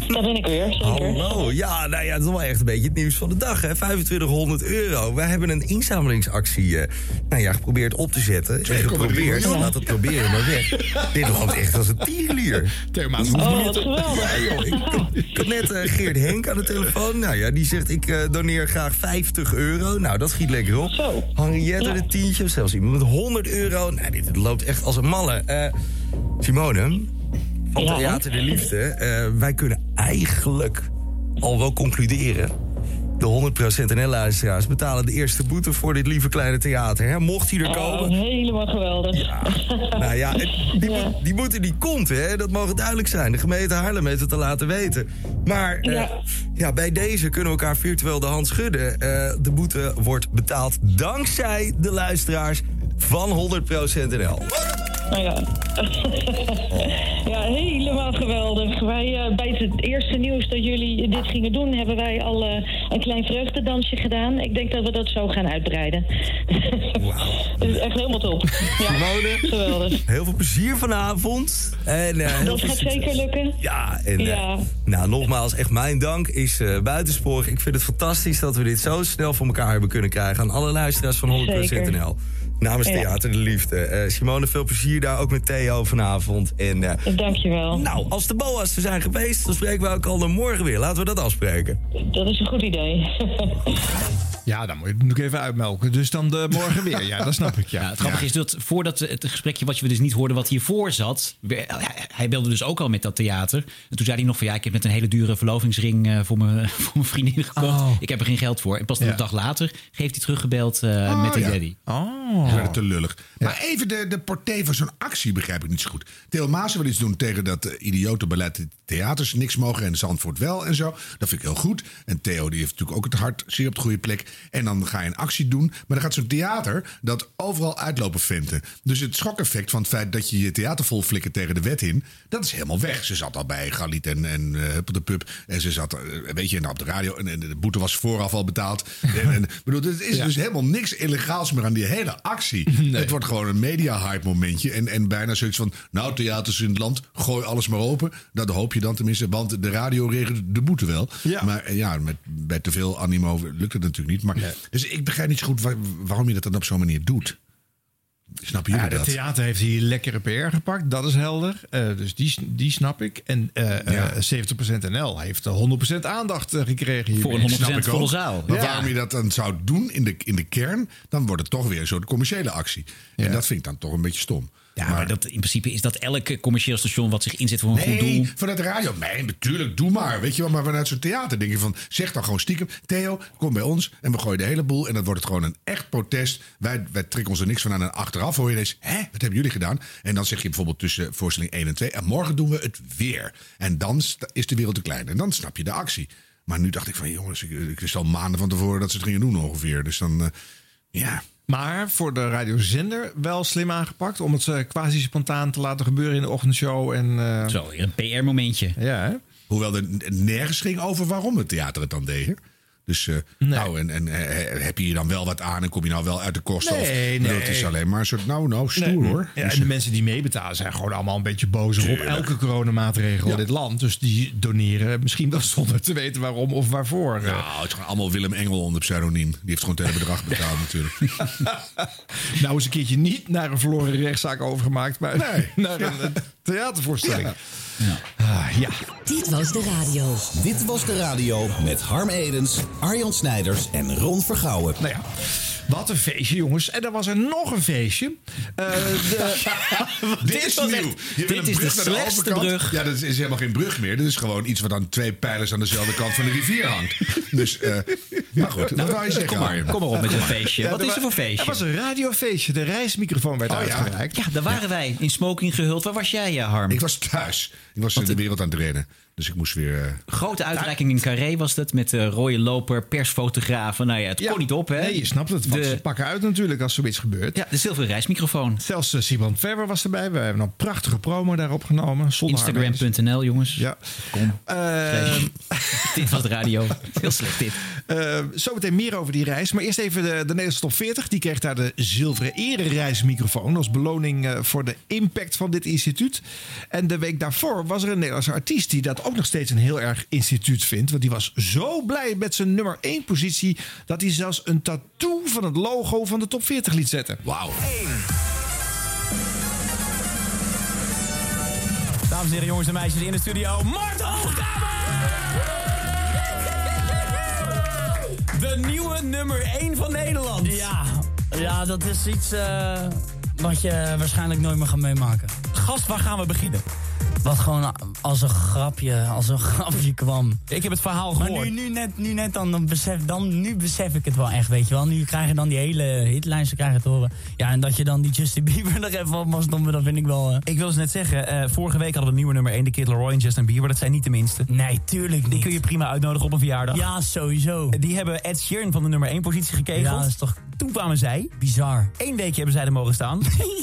S26: Daar ben ik weer,
S27: Hallo, ja, nou ja, dat is wel echt een beetje het nieuws van de dag, hè. 2500 euro. Wij hebben een inzamelingsactie, eh, nou ja, geprobeerd op te zetten.
S22: Twee
S27: En geprobeerd,
S22: miljoen.
S27: laat het proberen, maar weg. Dit loopt echt als een tierlier.
S22: Maas. Oh, wat geweldig.
S27: Ja, joh, ik, ik had net eh, Geert Henk aan de telefoon. Nou ja, die zegt, ik eh, doneer graag 50 euro. Nou, dat schiet lekker op. Henriette een tientje, of zelfs iemand met 100 euro. Nou, dit, dit loopt echt als een malle. Eh, Simone, van
S26: Ja.
S27: Theater de Liefde. eh, wij kunnen eigenlijk al wel concluderen... de 100% NL-luisteraars betalen de eerste boete... voor dit lieve kleine theater. Hè? Mocht hij er komen...
S26: Oh, helemaal geweldig.
S27: Nou ja, het- die, moet- die moeten die komt, hè. Dat mogen duidelijk zijn. De gemeente Haarlem heeft het te laten weten. Maar eh, ja. bij deze kunnen we elkaar virtueel de hand schudden. Eh, de boete wordt betaald dankzij de luisteraars van 100% NL.
S26: Nou ja. ja, helemaal geweldig. Wij, eh, bij het eerste nieuws dat jullie dit gingen doen, hebben wij al eh, een klein vreugdedansje gedaan. Ik denk dat we dat zo gaan uitbreiden. dus echt helemaal top. Ja, geweldig.
S27: Heel veel plezier vanavond. En, eh, heel
S26: Dat
S27: veel
S26: gaat
S27: succes.
S26: zeker lukken.
S27: Ja, en eh,
S26: Ja.
S27: nou, nogmaals, echt mijn dank is eh buitensporig. Ik vind het fantastisch dat we dit zo snel voor elkaar hebben kunnen krijgen... aan alle luisteraars van 100%
S26: Zeker.
S27: NL. Namens
S26: Ja.
S27: Theater de Liefde. Eh, Simone, veel plezier daar, ook met Theo vanavond. En, eh,
S26: Dankjewel.
S27: nou, als de boa's er zijn geweest, dan spreken we elkaar morgen weer. Laten we dat afspreken.
S26: Dat is een goed idee.
S6: Ja, Ah, dan moet je het natuurlijk even uitmelken. Dus dan de morgen weer. Ja, dat snap ik. Ja.
S4: het grappige is dat voordat het gesprekje wat we dus niet hoorden wat hiervoor zat. we- hij- Hij belde dus ook al met dat theater. En toen zei hij nog van ja, ik heb net een hele dure verlovingsring eh, voor mijn, voor mijn vriendin gekocht.
S6: Oh.
S4: Ik heb er geen geld voor. En pas dan
S3: Ja.
S4: een dag later geeft hij teruggebeld eh,
S3: Oh,
S4: met de
S3: ja.
S4: daddy.
S3: Ze werden te lullig. Maar even de, de portée van zo'n actie begrijp ik niet zo goed. Theo Maassen wil iets doen tegen dat eh, idiote beleid dat theaters niks mogen en Zandvoort wel en zo. Dat vind ik heel goed. En Theo die heeft natuurlijk ook het hart zeer op de goede plek. En dan ga je een actie doen. Maar dan gaat zo'n theater dat overal uitlopen venten. Dus het schokeffect van het feit dat je je theater vol flikkert tegen de wet in, dat is helemaal weg. Ze zat al bij Galit en, en eh, Huppel de Pup. En ze zat, eh, weet je, en op de radio. En, en de boete was vooraf al betaald. En, en, bedoel, er is dus helemaal niks illegaals meer aan die hele actie. Het wordt gewoon een media-hype momentje. En, en bijna zoiets van, nou, theaters in het land, gooi alles maar open. Dat hoop je dan tenminste, want de radio regelt de boete wel. Maar eh, ja, met, bij te veel animo lukt het natuurlijk niet. Maar, Dus ik begrijp niet zo goed waar- waarom je dat dan op zo'n manier doet. Snap jullie
S6: Ja, het
S3: dat?
S6: theater heeft hier lekkere PR gepakt, dat is helder. Eh, dus die, die snap ik. En eh, eh, 70% NL heeft eh, 100% aandacht eh, gekregen hier.
S3: Snap ik ook. Maar waarom je dat dan zou doen in de, in de kern, dan wordt het toch weer een soort commerciële actie. En dat vind ik dan toch een beetje stom.
S4: Ja, maar, dat, in principe is dat elk commercieel station wat zich inzet voor een goed doel.
S3: Nee, vanuit de radio. Nee, natuurlijk, doe maar. Weet je wel, maar vanuit zo'n theater denk je van... zeg dan gewoon stiekem, Theo, kom bij ons en we gooien de hele boel... en dan wordt het gewoon een echt protest. Wij, wij trekken ons er niks van aan en achteraf hoor je ineens... hè, wat hebben jullie gedaan? En dan zeg je bijvoorbeeld tussen voorstelling 1 en 2... en morgen doen we het weer. En dan sta- is de wereld te klein en dan snap je de actie. Maar nu dacht ik van, jongens, ik, ik wist al maanden van tevoren... dat ze het gingen doen ongeveer, dus dan... eh, ja.
S6: Maar voor de radiozender wel slim aangepakt. Om het eh, quasi spontaan te laten gebeuren in de ochtendshow. En, eh,
S4: Zo, weer een PR-momentje.
S6: Ja, hè?
S3: Hoewel er n- nergens ging over waarom het theater het dan deed. hè? Dus eh, nou, en, en eh, heb je hier dan wel wat aan en kom je nou wel uit de kosten? of,
S6: Nee,
S3: Ik bedoel,
S6: nee.
S3: Het is alleen maar een soort nou, nou, stoer
S6: Nee.
S3: hoor.
S6: Ja, en de mensen die meebetalen zijn gewoon allemaal een beetje boos op
S3: Tuurlijk.
S6: elke coronamaatregel in dit land. Dus die doneren misschien wel zonder te weten waarom of waarvoor. eh.
S3: Nou, het is gewoon allemaal Willem Engel onder pseudoniem. Die heeft gewoon het hele bedrag betaald natuurlijk.
S6: Nou is een keertje niet naar een verloren rechtszaak overgemaakt, maar naar een eh, theatervoorstelling. Ah, ja.
S12: Dit was de radio. Dit was de radio met Harm Edens, Arjan Snijders en Ron Vergouwen.
S6: Nou ja, wat een feestje jongens. En dan was er nog een feestje. Eh, de-
S3: dit is nieuw. Je wil een brug naar overkant. Ja, dat is, is helemaal geen brug meer. Dit is gewoon iets wat aan twee pijlers aan dezelfde kant van de rivier hangt. Dus, eh, maar goed,
S6: Nou,
S3: wat wou je zeggen?
S6: kom maar,
S3: Arjen?
S6: kom maar op met
S3: Kom
S6: een feestje. Wat is er voor feestje? Oh,
S3: Er was een
S6: radiofeestje. De reismicrofoon werd uitgereikt.
S4: Ja, daar waren wij in smoking gehuld. Waar was jij, eh, Harm?
S3: Ik was thuis. Ik was in de wereld aan het rennen. Dus ik moest weer... eh,
S4: Grote uitreiking in Carré was dat. Met eh rode loper, persfotografen. Nou ja, het kon niet op, hè?
S6: Nee, je snapt het. Want ze pakken uit natuurlijk als zoiets gebeurt.
S4: Ja, de zilveren reismicrofoon.
S6: Zelfs eh, Simon Verwer was erbij. We hebben een prachtige promo daarop genomen. Zonder haar mensen.
S4: Instagram.nl, jongens.
S6: Ja.
S4: Kom.
S6: Eh,
S4: dit was de radio. Heel slecht dit.
S6: Eh, zometeen meer over die reis. Maar eerst even de, de Nederlandse top 40. Die kreeg daar de zilveren erereismicrofoon. Als beloning eh, voor de impact van dit instituut. En de week daarvoor was er een Nederlandse artiest. Die dat ook nog steeds een heel erg instituut vindt. Want die was zo blij met zijn nummer 1 positie. Dat hij zelfs een tattoo van het logo van de top 40 liet zetten.
S3: Wauw.
S28: Dames en heren, jongens en meisjes in de studio, Marten Hoogkamer! De nieuwe nummer 1 van Nederland.
S29: Ja, ja dat is iets eh, wat je waarschijnlijk nooit meer gaat meemaken.
S28: Gast, waar gaan we beginnen?
S29: Wat gewoon a- als een grapje, als een grapje kwam.
S28: Ik heb het verhaal
S29: Maar
S28: gehoord.
S29: nu, nu net, nu net dan, dan, besef, dan, nu besef ik het wel echt, weet je wel. Nu krijgen dan die hele hitlijst, ze krijgen het te horen. Ja, en dat je dan die Justin Bieber nog even op mag stompen, dat vind ik wel... eh,
S28: Ik wil dus net zeggen, eh, vorige week hadden we een nieuwe nummer 1, de Kid Laroi en Justin Bieber. Dat zijn niet de minste.
S29: Nee, tuurlijk niet.
S28: Die kun je prima uitnodigen op een verjaardag.
S29: Ja, sowieso.
S28: Die hebben Ed Sheeran van de nummer 1 positie gekegeld.
S29: Ja, dat is toch
S28: Toen kwamen zij.
S29: bizar.
S28: Eén weekje hebben zij er mogen staan.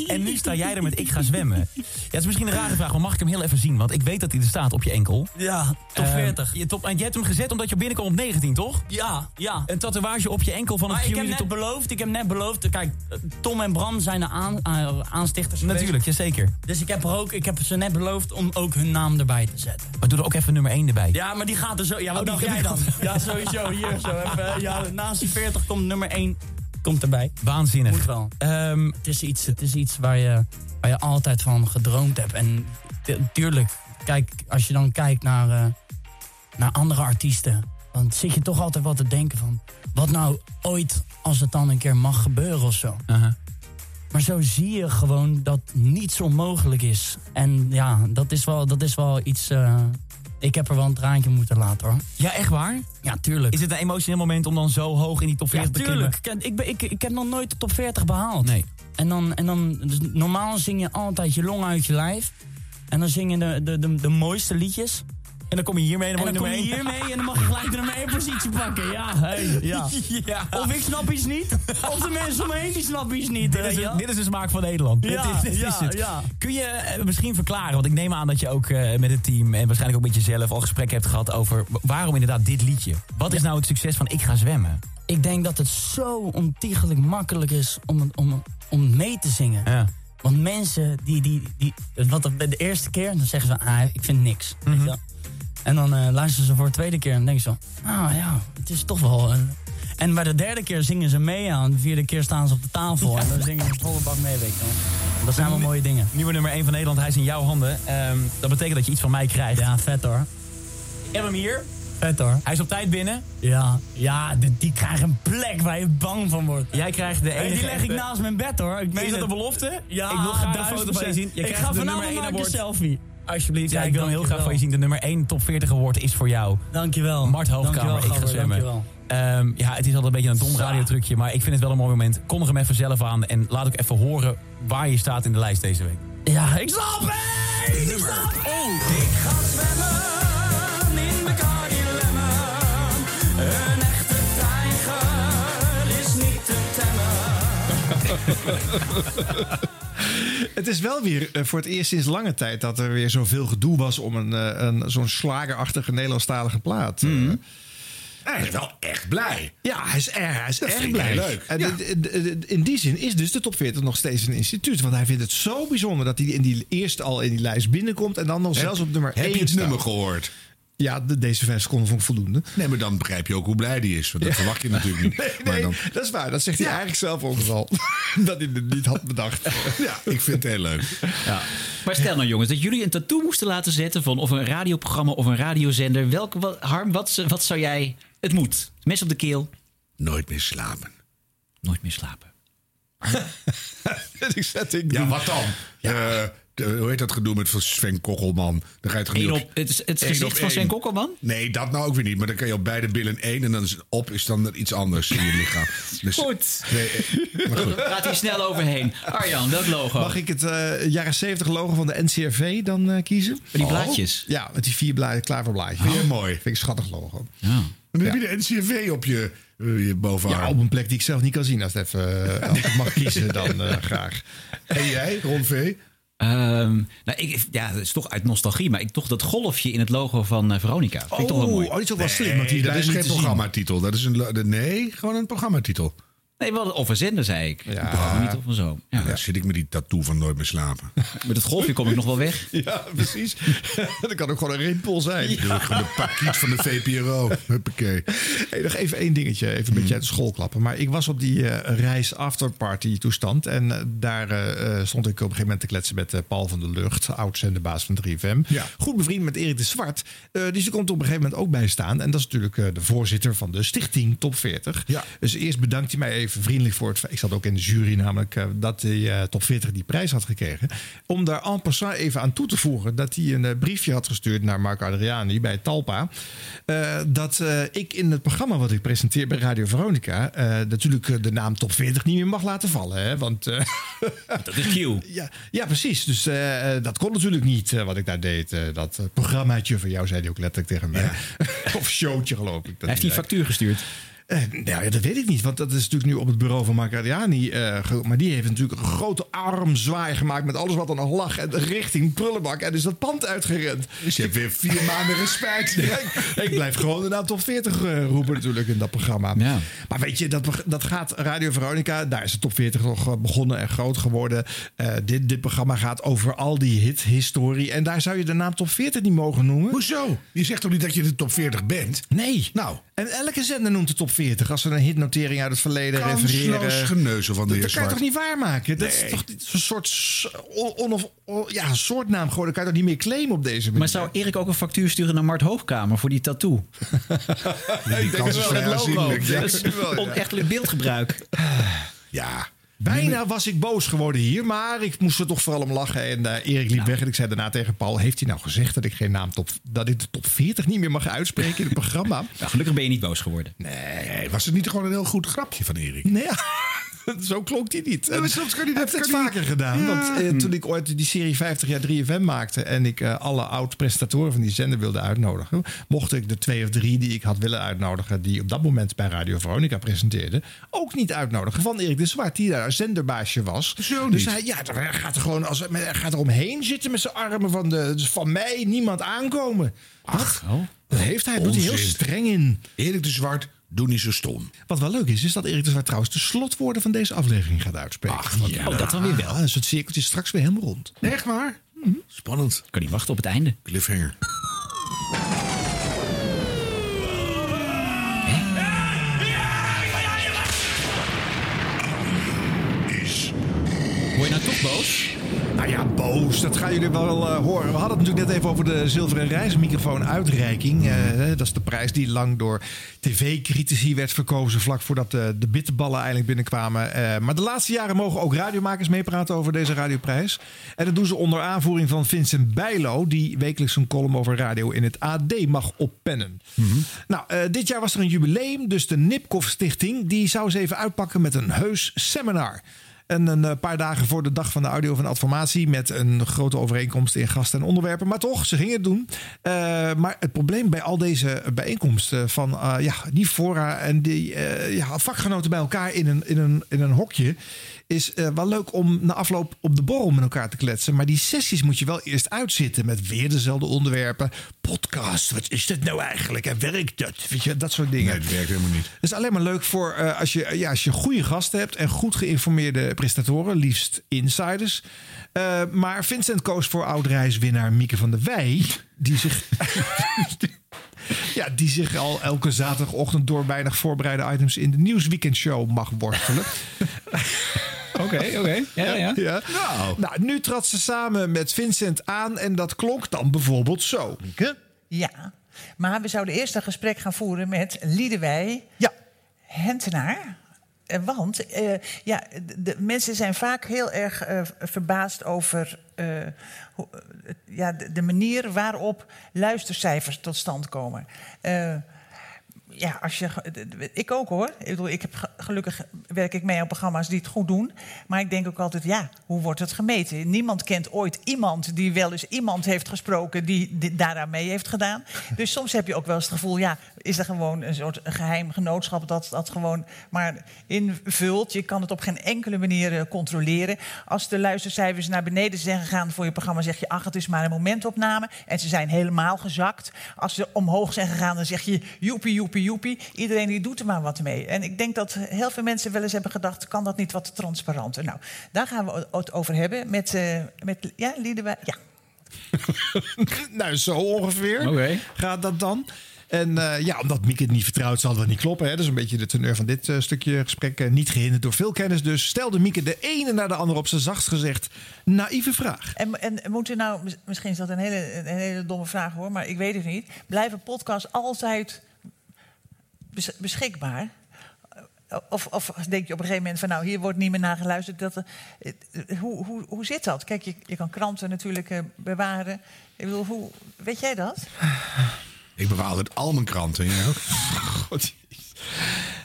S28: en nu sta jij er met ik ga zwemmen. Ja, het is misschien een rare vraag, maar mag ik hem heel even zien? Want ik weet dat hij er staat op je enkel.
S29: Ja, top
S28: Ehm,
S29: 40.
S28: Je, top, en je hebt hem gezet omdat je binnenkwam op 19, toch?
S29: Ja, ja.
S28: Een tatoeage op je enkel van een
S29: Maar ik heb
S28: community
S29: net
S28: top...
S29: beloofd, ik heb net beloofd. Kijk, eh, Tom en Bram zijn de aan, eh, aanstichters. geweest.
S28: Natuurlijk, jazeker.
S29: Dus ik heb, er ook, ik heb ze net beloofd om ook hun naam erbij te zetten.
S28: Maar doe er ook even nummer 1 erbij.
S29: Ja, maar die gaat er zo. Ja, wat
S28: Oh, die
S29: dacht
S28: heb
S29: jij
S28: ik
S29: dan?
S28: al.
S29: eh, nou, Ja, sowieso. Hier zo. Even, ja, naast die 40 komt nummer 1 komt erbij.
S20: Waanzinnig.
S29: Moet wel. het, is iets, het is iets waar je, waar je altijd van gedroomd hebt. En tu- tuurlijk, kijk, als je dan kijkt naar, eh, naar andere artiesten... dan zit je toch altijd wat te denken van... wat nou ooit als het dan een keer mag gebeuren of zo. Maar zo zie je gewoon dat niets onmogelijk is. En ja, dat is wel, dat is wel iets... eh, ik heb er wel een traantje moeten laten hoor.
S20: Ja, echt waar?
S29: Ja, tuurlijk.
S20: Is het een emotioneel moment om dan zo hoog in die top 40
S29: Ja,
S20: te klimmen?
S29: tuurlijk. Ik, ik, ben- ik, ik heb nog nooit de top 40 behaald. Nee. En dan, en dan dus normaal zing je altijd je long uit je lijf. En dan zing je de, de, de, de mooiste liedjes.
S20: En dan kom je hiermee en
S29: En
S20: dan,
S29: dan kom
S20: word
S29: je
S20: je ermee.
S29: hiermee en dan mag je gelijk de nummer 1 positie pakken. Ja, hey, ja.
S20: Ja.
S29: Of ik snap iets niet, of de mensen omheen die snappen iets niet.
S20: Dit is,
S29: weet je wel.
S20: het- dit is de smaak van Nederland.
S29: Ja,
S20: dit is, dit is
S29: ja,
S20: het.
S29: ja.
S20: Kun je eh, misschien verklaren, want ik neem aan dat je ook eh, met het team... en waarschijnlijk ook met jezelf al gesprek hebt gehad over... wa- waarom inderdaad dit liedje? Wat is nou het succes van Ik Ga Zwemmen?
S29: Ik denk dat het zo ontiegelijk makkelijk is om, om, om mee te zingen. Want mensen die, die, die wat dat- de eerste keer, dan zeggen ze, ah, ik vind niks. Weet
S20: Mhm.
S29: je wel. En dan eh, luisteren ze voor de tweede keer en denken ze, ah ja, het is toch wel... een- En bij de derde keer zingen ze mee aan, de vierde keer staan ze op de tafel en dan zingen ze volle bak mee. Weet je wel. Dat zijn wel mooie dingen.
S20: Nieuwe nummer 1 van Nederland, hij is in jouw handen. Ehm, dat betekent dat je iets van mij krijgt.
S29: Ja, vet hoor.
S20: Ik heb hem hier.
S29: Vet hoor.
S20: Hij is op tijd binnen.
S29: Ja, ja die, die krijgen een plek waar je bang van wordt.
S20: Jij krijgt de
S29: Hey,
S20: enige
S29: die leg ik
S20: echte-
S29: naast mijn bed hoor. Ik meen
S20: Is dat
S29: het.
S20: een belofte?
S29: Ja,
S20: ik wil graag een foto
S29: duizend
S20: van je zien. Je
S29: procent. Ik
S20: krijgt
S29: ga
S20: de nummer
S29: vanavond
S20: één
S29: maken een
S20: award.
S29: selfie.
S20: Alsjeblieft, ja,
S29: Kijk,
S20: ik wil heel
S29: dankjewel.
S20: graag van je zien. De nummer 1 top 40 award is voor jou.
S29: Dankjewel.
S20: Mart
S29: Dankjewel,
S20: Hoogkamer, ik ga
S29: Gabber,
S20: zwemmen.
S29: dankjewel.
S20: Ehm, ja, het is altijd een beetje een dom radiotrucje, maar ik vind het wel een mooi moment. Kondig hem even zelf aan en laat ook even horen waar je staat in de lijst deze week.
S29: Ja, ik snap het!
S10: Nummer 1.
S7: Oh.
S10: Ik ga zwemmen in de Cardilemmen. Een echte tijger is niet te temmen.
S6: Het is wel weer eh, voor het eerst sinds lange tijd dat er weer zoveel gedoe was om een, eh, een, zo'n slagerachtige Nederlandstalige plaat.
S3: eh. Hij is wel echt blij.
S6: Mhm. Ja, hij is, erg, hij is
S3: Dat
S6: echt
S3: vind ik
S6: blij.
S3: leuk.
S6: En
S3: Ja.
S6: dit- dit- dit- In die zin is dus de top 40 nog steeds een instituut. Want hij vindt het zo bijzonder dat hij in die, eerst al in die lijst binnenkomt. En dan nog zelfs op nummer 1
S3: Heb je het nummer gehoord?
S6: Ja, de- deze vijf seconden vond ik voldoende.
S3: Nee, maar dan begrijp je ook hoe blij die is. Want dat
S6: Ja.
S3: verwacht je natuurlijk niet.
S6: Nee,
S3: Maar
S6: nee,
S3: dan,
S6: dat is waar. Dat zegt hij eigenlijk zelf ook wel. dat hij het niet had bedacht.
S3: ja, ik vind het heel leuk.
S4: Maar stel nou jongens, dat jullie een tattoo moesten laten zetten van of een radioprogramma of een radiozender. Welk, wat, Harm, wat, z- wat zou jij... Het moet. Mes op de keel.
S3: Nooit meer slapen.
S4: Nooit meer slapen.
S6: ik zet ik
S3: Ja, wat dan? Eh, de- hoe heet dat gedoe met van Sven Kokkelman? Dan ga je toch niet
S4: Eén op- het is- het
S3: Eén
S4: gezicht
S3: op
S4: van Sven
S3: één.
S4: Kokkelman?
S3: Nee, dat nou ook weer niet. Maar dan kan je op beide billen één en dan is op is dan er iets anders in je lichaam. Dus,
S4: Goed.
S3: Nee, eh, maar goed.
S4: Gaat hier snel overheen. Arjan, welk logo?
S6: Mag ik het eh, jaren 70 logo van de NCRV dan eh, kiezen?
S4: Met die blaadjes?
S6: Ja, met die vier bla- klaverblaadjes.
S3: Vind je mooi?
S6: Vind ik een schattig logo.
S3: Dan heb je de NCV op je, eh, je bovenarm.
S6: Ja, op een plek die ik zelf niet kan zien. Als het even eh, als ik mag kiezen, dan eh, graag.
S3: En jij, Ron V?
S4: Ehm, nou, ik, ja, dat is toch uit nostalgie, maar ik, toch dat golfje in het logo van eh, Veronica. Vind ik toch
S3: Oh,
S6: Oh,
S4: wel mooi.
S3: Nee, dat is geen programmatitel. Dat is een, lo- de- nee, gewoon een programmatitel.
S4: Nee, wel of een zender, zei ik. Een
S3: Ah.
S4: programma niet of een zo. Ja.
S3: Daar zit ik met die tattoo van nooit meer slapen.
S4: Met het golfje kom ik nog wel weg.
S6: Ja, precies. dat kan ook gewoon een rimpel zijn.
S3: Doe ik gewoon de pakkiet van de VPRO. Huppakee. Hmm.
S6: Hey, nog even één dingetje, even een beetje uit de school klappen. Maar ik was op die eh, reis afterparty toestand. En eh, daar eh, eh, stond ik op een gegeven moment te kletsen met eh, Paul van der Lucht. Oud zenderbaas van 3FM. Goed bevriend met Erik de Zwart. Eh, dus die komt er op een gegeven moment ook bij staan. En dat is natuurlijk eh, de voorzitter van de stichting Top 40. Dus eerst bedankt hij mij even vriendelijk voor het feit. Ik zat ook in de jury namelijk eh, dat hij eh, Top 40 die prijs had gekregen. Om daar en passant even aan toe te voegen dat hij een eh, briefje had gestuurd naar Mark Adriani bij Talpa. eh, dat eh, ik in het programma wat ik presenteer bij Radio Veronica. eh, natuurlijk eh, de naam Top 40 niet meer mag laten vallen. Hè? Want. eh,
S4: Dat is Q.
S6: ja, ja, precies. Dus eh, eh, dat kon natuurlijk niet eh, wat ik daar deed. Eh, dat eh, programmaatje van jou zei hij ook letterlijk tegen mij. of showtje geloof ik. dat
S4: Hij heeft die
S6: zei.
S4: factuur gestuurd.
S6: Eh, nou ja, dat weet ik niet. Want dat is natuurlijk nu op het bureau van Macariani. eh, ge- maar die heeft natuurlijk een grote armzwaai gemaakt met alles wat er nog lag. En richting prullenbak. En is dat pand uitgerend.
S3: Dus je hebt weer vier maanden respect.
S6: Ja, ik, ik blijf gewoon de naam top 40 eh, roepen natuurlijk in dat programma. Maar weet je, dat, dat gaat Radio Veronica. Daar is de top 40 nog eh, begonnen en groot geworden. Eh, dit, dit programma gaat over al die hit-historie. En daar zou je de naam top 40 niet mogen noemen.
S3: Hoezo? Je zegt toch niet dat je de top 40 bent?
S6: Nee.
S3: Nou.
S6: En elke zender noemt de top 40. 40. Als ze een hitnotering uit het verleden
S3: Kansloos
S6: refereren.
S3: geneuzel van de
S6: Dat-
S3: heer
S6: Dat kan je
S3: Zwart.
S6: toch niet waarmaken? Dat is
S3: Nee.
S6: toch een soort, s- on, on- of- on- Oh, ja, een soortnaam geworden. Dat kan je toch niet meer claimen op deze manier?
S4: Maar zou Erik ook een factuur sturen naar Mart Hoogkamer voor die tattoo?
S6: Ik denk het wel, het logo. Ja,
S4: Dat is
S6: misschien wel, ja.
S4: onechtelijk beeldgebruik.
S6: Ja. Bijna was ik boos geworden hier, maar ik moest er toch vooral om lachen. En eh, Erik liep weg en ik zei daarna tegen Paul... heeft hij nou gezegd dat ik geen naam top... dat ik de top 40 niet meer mag uitspreken in het programma?
S4: Nou, gelukkig ben je niet boos geworden.
S6: Nee, was het niet gewoon een heel goed grapje van Erik? Nee, ja. zo klonk hij niet.
S3: Ja, maar soms kan hij dat-
S6: heb het
S3: kan hij-
S6: vaker gedaan.
S3: Ja.
S6: Want eh, toen ik ooit die serie 50 jaar 3FM maakte... en ik eh, alle oud-presentatoren van die zender wilde uitnodigen... mocht ik de twee of drie die ik had willen uitnodigen... die op dat moment bij Radio Veronica presenteerden... ook niet uitnodigen van Erik de Zwart... die daar zenderbaasje was. dus
S3: niet.
S6: hij ja, hij gaat er gewoon als, hij gaat er omheen zitten met zijn armen... van, de, van mij niemand aankomen. Ach, dat heeft hij. doet hij heel
S3: oh. Onzin.
S6: streng in.
S3: Erik de Zwart, doe niet zo stom.
S6: Wat wel leuk is, is dat Erik de Zwart trouwens de slotwoorden van deze aflevering gaat uitspreken. Ach,
S3: Oh, dat dan weer wel.
S6: Een soort cirkeltje is straks weer helemaal rond. Echt waar?
S3: Spannend.
S4: Kan niet wachten op het einde.
S3: Cliffhanger.
S4: Word je nou toch boos?
S6: Nou ja, boos. Dat gaan jullie wel eh, horen. We hadden het natuurlijk net even over de zilveren reismicrofoon uitreiking. Eh, dat is de prijs die lang door tv-critici werd verkozen... vlak voordat eh, de bitterballen eindelijk binnenkwamen. Eh, maar de laatste jaren mogen ook radiomakers meepraten over deze radioprijs. En dat doen ze onder aanvoering van Vincent Bijlo... die wekelijks een column over radio in het AD mag oppennen.
S12: Mhm.
S6: Nou, eh, dit jaar was er een jubileum. Dus de Nipkoff Stichting die zou ze even uitpakken met een heus seminar... En een eh, paar dagen voor de dag van de audio van Adformatie. met een grote overeenkomst in gasten en onderwerpen. Maar toch, ze gingen het doen. Eh, maar het probleem bij al deze bijeenkomsten. van eh, ja, die fora en die eh, ja, vakgenoten bij elkaar in een, in een, in een hokje. is eh, wel leuk om na afloop op de borrel met elkaar te kletsen. Maar die sessies moet je wel eerst uitzitten. met weer dezelfde onderwerpen. Podcast, wat is dat nou eigenlijk? En werkt dat? Weet je, dat soort dingen.
S3: Nee, het werkt helemaal niet.
S6: Het is alleen maar leuk voor eh, als, je, ja, als je goede gasten hebt en goed geïnformeerde presentatoren, liefst insiders. Eh, maar Vincent koos voor oudreiswinnaar Mieke van der Wij, die zich, ja, die zich al elke zaterdagochtend door weinig voorbereide items in de nieuwsweekendshow mag worstelen. Oké,
S4: oké. Ja, ja.
S6: Nou. nu trad ze samen met Vincent aan en dat klonk dan bijvoorbeeld zo.
S19: Ja, maar we zouden eerst een gesprek gaan voeren met Liedewij Hentenaar. Eh, Want eh, ja, de, de mensen zijn vaak heel erg eh, verbaasd over eh, hoe- eh, ja, de, de manier waarop luistercijfers tot stand komen. Eh, ja, als je, ik ook hoor. Ik bedoel, ik heb, ge- gelukkig werk ik mee aan programma's die het goed doen. Maar ik denk ook altijd, ja, hoe wordt het gemeten? Niemand kent ooit iemand die wel eens iemand heeft gesproken... die dit daaraan mee heeft gedaan. Dus soms heb je ook wel eens het gevoel... ja, is er gewoon een soort geheim genootschap dat dat gewoon maar invult. Je kan het op geen enkele manier eh, controleren. Als de luistercijfers naar beneden zijn gegaan voor je programma... zeg je, ach, het is maar een momentopname. En ze zijn helemaal gezakt. Als ze omhoog zijn gegaan, dan zeg je joepie, joepie, joepie. Iedereen die doet er maar wat mee. En ik denk dat heel veel mensen wel eens hebben gedacht... kan dat niet wat transparanter? Nou, daar gaan we het over hebben met, eh, met ja, Liedewij. Ja.
S6: nou, zo ongeveer gaat dat dan. En eh, ja, omdat Mieke het niet vertrouwt, zal het wel niet kloppen. Hè? Dat is een beetje de teneur van dit eh, stukje gesprek. Eh, niet gehinderd door veel kennis. Dus stelde Mieke de ene naar de andere op zijn zachtst gezegd naïeve vraag.
S19: En, en moeten nou, mis- misschien is dat een hele, een hele domme vraag hoor, maar ik weet het niet. Blijven podcasts altijd bes- beschikbaar? Of, of denk je op een gegeven moment van nou, hier wordt niet meer naar geluisterd. Dat, eh, eh, hoe, hoe, hoe zit dat? Kijk, je, je kan kranten natuurlijk eh, bewaren. Ik bedoel, hoe, weet jij dat?
S3: Ik bewaar altijd al mijn kranten. Ja.
S6: God.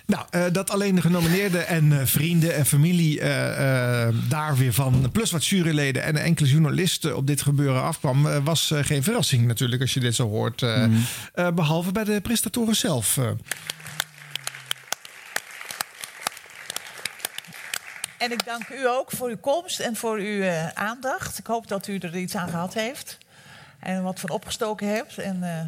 S6: Nou, eh, dat alleen de genomineerden en eh, vrienden en familie eh, eh, daar weer van, plus wat juryleden en enkele journalisten op dit gebeuren afkwam, eh, was eh, geen verrassing natuurlijk als je dit zo hoort. eh, eh, behalve bij de prestatoren zelf. eh.
S19: En ik dank u ook voor uw komst en voor uw eh, aandacht. Ik hoop dat u er iets aan gehad heeft. En wat van opgestoken hebt. En eh,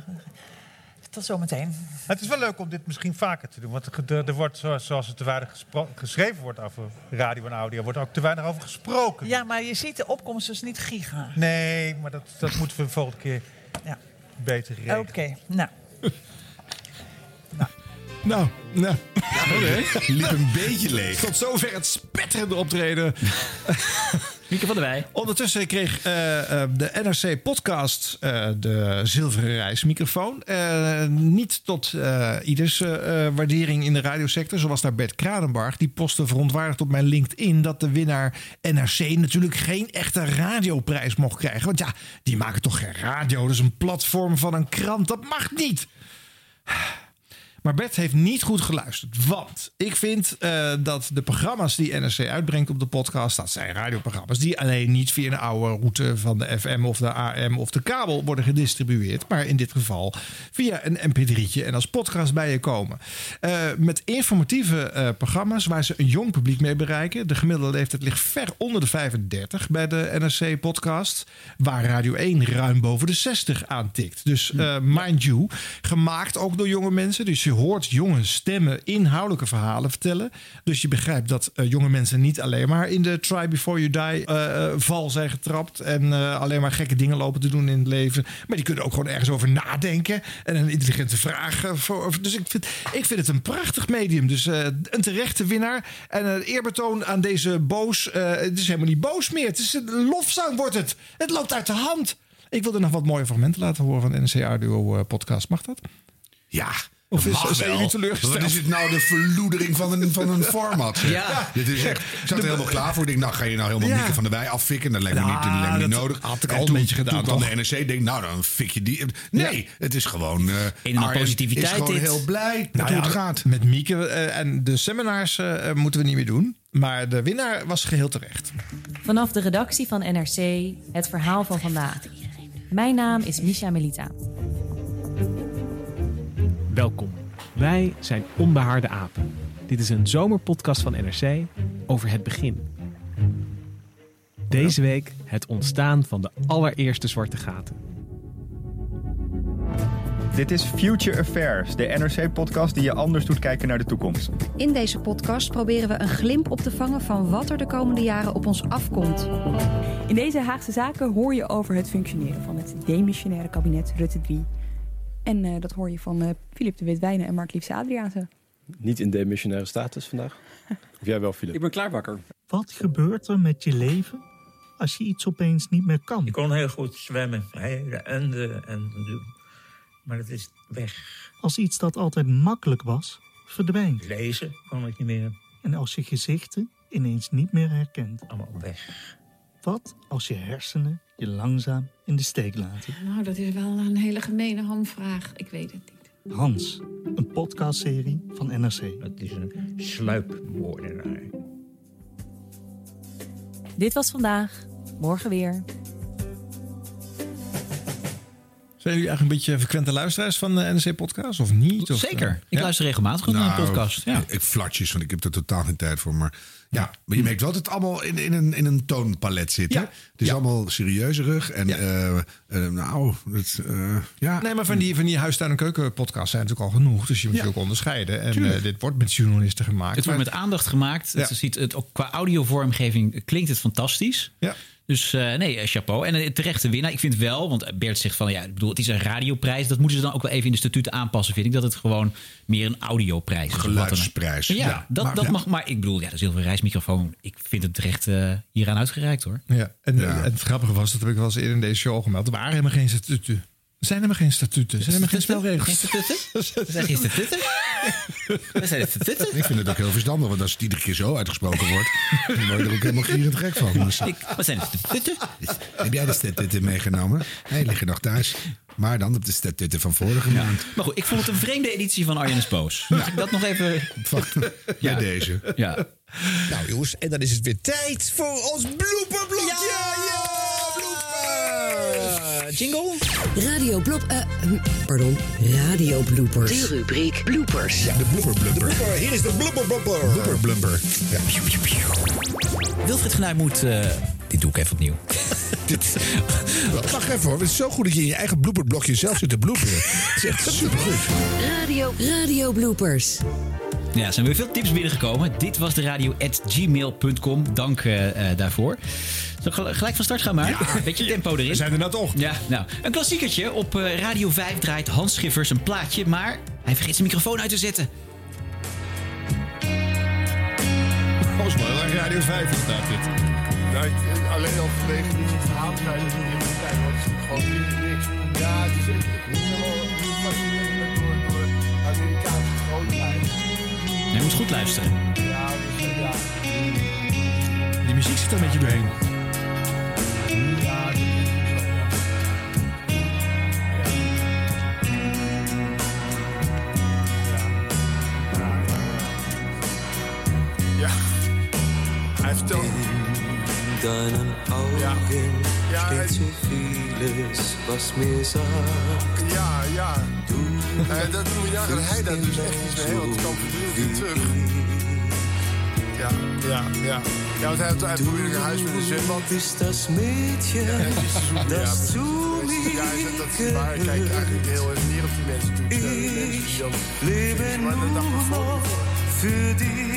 S19: tot zometeen.
S2: Het is wel leuk om dit misschien vaker te doen. Want er gede- er wordt, zo- zoals het te weinig gespro- geschreven wordt over radio en audio, wordt er ook te weinig over gesproken.
S19: Ja, maar je ziet de opkomst dus niet giga.
S2: Nee, maar dat, dat moeten we de
S19: nou.
S2: volgende keer beter regelen.
S19: Oké, nou.
S6: Nou, nou.
S3: Liep een beetje leeg.
S6: Tot zover het spetterende optreden.
S19: Mieke van der Wij.
S6: Ondertussen kreeg eh, eh, de NRC Podcast eh, de zilveren reismicrofoon. Eh, niet tot eh, ieders eh, eh, waardering in de radiosector. Zoals daar Bert Kranenbarg. Die postte verontwaardigd op mijn LinkedIn dat de winnaar NRC natuurlijk geen echte radioprijs mocht krijgen. Want ja, die maken toch geen radio. Dat is een platform van een krant. Dat mag niet. Maar Bert heeft niet goed geluisterd. Want ik vind eh, dat de programma's die NRC uitbrengt op de podcast... dat zijn radioprogramma's die alleen niet via een oude route... van de FM of de AM of de kabel worden gedistribueerd... maar in dit geval via een mp3'tje en als podcast bij je komen. Eh, met informatieve eh, programma's waar ze een jong publiek mee bereiken. De gemiddelde leeftijd ligt ver onder de 35 bij de NRC-podcast... waar Radio 1 ruim boven de 60 aantikt. Dus eh, mind you, gemaakt ook door jonge mensen... dus je hoort jonge stemmen inhoudelijke verhalen vertellen. Dus je begrijpt dat eh, jonge mensen niet alleen maar in de try before you die eh, eh, val zijn getrapt. En eh, alleen maar gekke dingen lopen te doen in het leven. Maar die kunnen ook gewoon ergens over nadenken. En een intelligente vraag. eh, voor, dus ik vind, ik vind het een prachtig medium. Dus eh, een terechte winnaar. En een eerbetoon aan deze boos. eh, het is helemaal niet boos meer. Het is een lofzang wordt het. Het loopt uit de hand. Ik wilde nog wat mooie fragmenten laten horen van de NC Audio eh, Podcast. Mag dat?
S3: Ja.
S6: Of
S3: dat
S6: is-
S3: mag
S6: zijn
S3: wel.
S6: jullie teleurgesteld?
S3: Wat is dit nou de verloedering van een, van een format? zeg.
S6: Ja.
S3: Dit is echt, ik zat er helemaal klaar voor. Ik dacht, nou, ga je nou helemaal
S6: Ja.
S3: Mieke van der Wij affikken? Dat lijkt me
S6: Nou,
S3: niet, dat lijkt me niet
S6: dat
S3: nodig.
S6: had ik
S3: En
S6: al een
S3: toen-
S6: beetje gedaan,
S3: Toen kwam
S6: toch?
S3: de NRC, denk nou, dan fik je die. Nee, het is gewoon... eh,
S6: In
S3: Arjen is gewoon heel blij Nou met hoe het gaat.
S6: Nou Met Mieke eh, en de seminars eh, eh, moeten we niet meer doen. Maar de winnaar was geheel terecht.
S30: Vanaf de redactie van NRC het verhaal van vandaag. Mijn naam is Misha Melita.
S13: Welkom. Wij zijn Onbehaarde Apen. Dit is een zomerpodcast van NRC over het begin. Deze week het ontstaan van de allereerste zwarte gaten.
S31: Dit is Future Affairs, de NRC-podcast die je anders doet kijken naar de toekomst.
S32: In deze podcast proberen we een glimp op te vangen van wat er de komende jaren op ons afkomt.
S10: In deze Haagse Zaken hoor je over het functioneren van het demissionaire kabinet Rutte 3. En eh, dat hoor je van eh, Filip de Witwijnen en Mark Liefse Adriaanse.
S33: Niet in demissionaire status vandaag. Of jij wel, Filip? Ik ben klaarbakker.
S34: Wat gebeurt er met je leven als je iets opeens niet meer kan?
S35: Ik kon heel goed zwemmen, hè, de ende en de- maar het is weg.
S34: Als iets dat altijd makkelijk was, verdwijnt.
S35: Lezen kon ik niet meer,
S34: En als je gezichten ineens niet meer herkent.
S35: allemaal weg.
S34: Wat als je hersenen je langzaam in de steek laten?
S36: Nou, dat is wel een hele gemene hamvraag. Ik weet het niet.
S34: Hans, een podcastserie van NRC.
S35: Het is een sluipmoordenaar.
S30: Dit was vandaag, morgen weer.
S6: Zijn jullie eigenlijk een beetje frequente luisteraars van de NRC Podcast of niet? Of,
S4: Zeker.
S6: eh,
S4: Ik luister regelmatig ook naar een podcast, ja.
S3: Nou, Ik flatjes, want ik heb er totaal geen tijd voor. Maar ja, maar je merkt wel dat het allemaal in, in, een, in een toonpalet zit. hè? Het is allemaal serieuzerig. En eh, eh, nou, het, eh, ja.
S6: Nee, maar van die, van die huistuin- en keukenpodcasts zijn natuurlijk al genoeg. Dus je moet
S3: Ja.
S6: je ook onderscheiden. En
S4: Tuurlijk.
S6: eh, dit wordt met journalisten gemaakt.
S4: Het wordt
S6: Maar-
S4: met aandacht gemaakt. Het
S6: Ja.
S4: ziet het, ook qua audiovormgeving klinkt het fantastisch.
S6: Ja.
S4: Dus eh, nee, eh, chapeau. En eh, terecht de winnaar. Ik vind wel, want Bert zegt van ja, ik bedoel, het is een radioprijs. Dat moeten ze dan ook wel even in de statuten aanpassen, vind ik. Dat het gewoon meer een audioprijs is. of wat dan ook.
S3: Geluidsprijs.
S4: Ja,
S3: Ja,
S4: dat,
S3: maar-
S4: dat
S3: ja.
S4: mag. Maar ik bedoel, ja, de zilveren reismicrofoon. Ik vind het terecht eh, hieraan uitgereikt hoor.
S6: Ja, en, en het grappige was, dat heb ik wel eens eerder in deze show al gemeld. Er waren helemaal geen statuten. Er zijn helemaal geen statuten. Er zijn helemaal geen spelregels.
S4: Zeg is de tutten?
S3: Ik vind het ook heel verstandig, want als het iedere keer zo uitgesproken wordt, dan word je er ook helemaal gierend gek van. Dus-
S4: Wat zijn het?
S3: heb jij de statutten meegenomen? Nee, liggen nog thuis. Maar dan op de statutten van vorige maand.
S4: Maar goed, ik vond het een vreemde editie van Arjen is Boos. Mag ik dat nog even...
S3: Bij deze.
S4: Ja.
S7: Nou jongens, en dan is het weer tijd voor ons blooperblokje. Ja, ja, blooper. Jingle.
S16: Radio blop... eh, hm, pardon, radio bloopers.
S7: De
S16: rubriek bloopers.
S3: Ja, de blooper blooper.
S7: Blooper, Hier is de blooper blooper.
S3: Blooper blooper.
S4: Wilfried Genuij moet... eh, dit doe ik even opnieuw.
S3: Dit, wacht even hoor, het is zo goed dat je in je eigen blooperblokje zelf zit te bloeperen. Het is echt supergoed.
S16: Radio, radio bloopers.
S4: Ja, er zijn weer veel tips binnengekomen. Dit was de radio at gmail.com. Dank eh, eh, daarvoor. Zal ik gel- gelijk van start gaan maar? Beetje tempo erin. We zijn
S6: er nou toch.
S4: Ja, nou. Een klassiekertje. Op eh, Radio 5 draait Hans Schiffers een plaatje, maar hij vergeet zijn microfoon uit te zetten.
S6: Radio 5 inderdaad dit.
S28: alleen al vanwege dit soort verhaal zou je dat niet meer kunnen kijken, want het is gewoon niet niks. Ja, het is ik ik ben helemaal gefascineerd ben door, door Amerikaanse grootheid.
S4: Nee, je moet goed luisteren.
S28: Ja, dus eh, ja.
S6: Die muziek zit er een beetje doorheen.
S28: Ja, dat is zo, ja. Ja. Hij vertelt.
S7: In deinen Augen steht so vieles, was mir sagt.
S28: Ja, ja. Eh, dat moet je nagaan. Hij daar dus echt iets mee heel wat kan verdienen terug. Ja, ja, ja. Ja, want hij had hij probeerde een huis met een zwembad.
S7: Bist das Mädchen, das zu
S28: Ja, dat is waar. Ik kijk eigenlijk heel erg neer op die mensen. natuurlijk. Ja, die mensen die dan-
S7: leben
S28: Maar dat dacht ik
S7: nur für dich.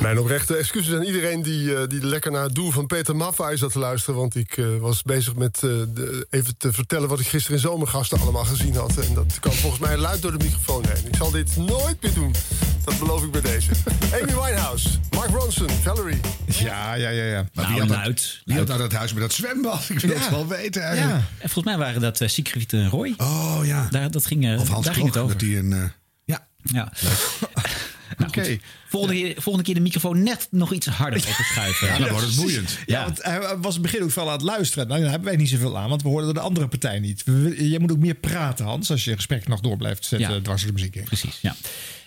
S37: Mijn oprechte excuses aan iedereen die, eh, die lekker naar het doel van Peter Maffay zat te luisteren. Want ik eh, was bezig met eh, de- even te vertellen wat ik gisteren in zomergasten allemaal gezien had. En dat kwam volgens mij luid door de microfoon heen. Ik zal dit nooit meer doen. Dat beloof ik bij deze. Amy Winehouse, Mark Ronson, Valerie.
S6: Ja, ja, ja. ja.
S4: Nou,
S3: Maar wie had, dat, wie had nou dat huis met dat zwembad? Ik wil
S6: Ja.
S3: het wel weten eigenlijk.
S4: En volgens mij waren dat eh, Siegfried en Roy.
S3: Oh ja.
S4: Daar, dat ging, eh,
S3: Of Hans
S4: daar ging het
S3: Klok,
S4: over.
S3: dat die een... eh,
S4: Ja. ja. Oké. Volgende, keer- volgende keer de microfoon net nog iets harder even schuiven.
S6: precies. Ja, want hij was in het begin ook veel aan het luisteren. Nou, daar hebben wij niet zoveel aan, want we hoorden de andere partij niet. We- Je moet ook meer praten, Hans, als je gesprek nog door blijft
S3: eh,
S6: zetten
S4: Ja.
S6: dwars door de muziek heen.
S4: Precies, ja.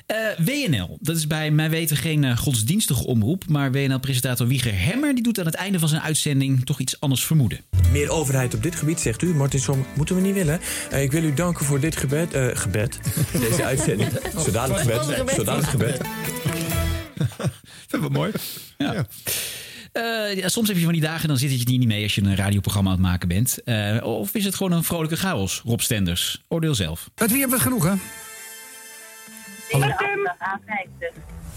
S4: Eh, WNL, dat is bij mijn weten geen eh, godsdienstige omroep. Maar WNL-presentator Wieger Hemmer die doet aan het einde van zijn uitzending toch iets anders vermoeden.
S2: Meer overheid op dit gebied, zegt u. Martinsom, moeten we niet willen. Eh, ik wil u danken voor dit gebed. eh, gebed. Deze uitzending. Zodanig gebed. Zodanig gebed.
S6: Dat was mooi.
S4: Ja. Eh, ja, soms heb je van die dagen, dan zit het je niet mee als je een radioprogramma aan het maken bent. Eh, of is het gewoon een vrolijke chaos, Rob Stenders? Oordeel zelf.
S12: Met wie hebben we het genoeg, hè? Hallo.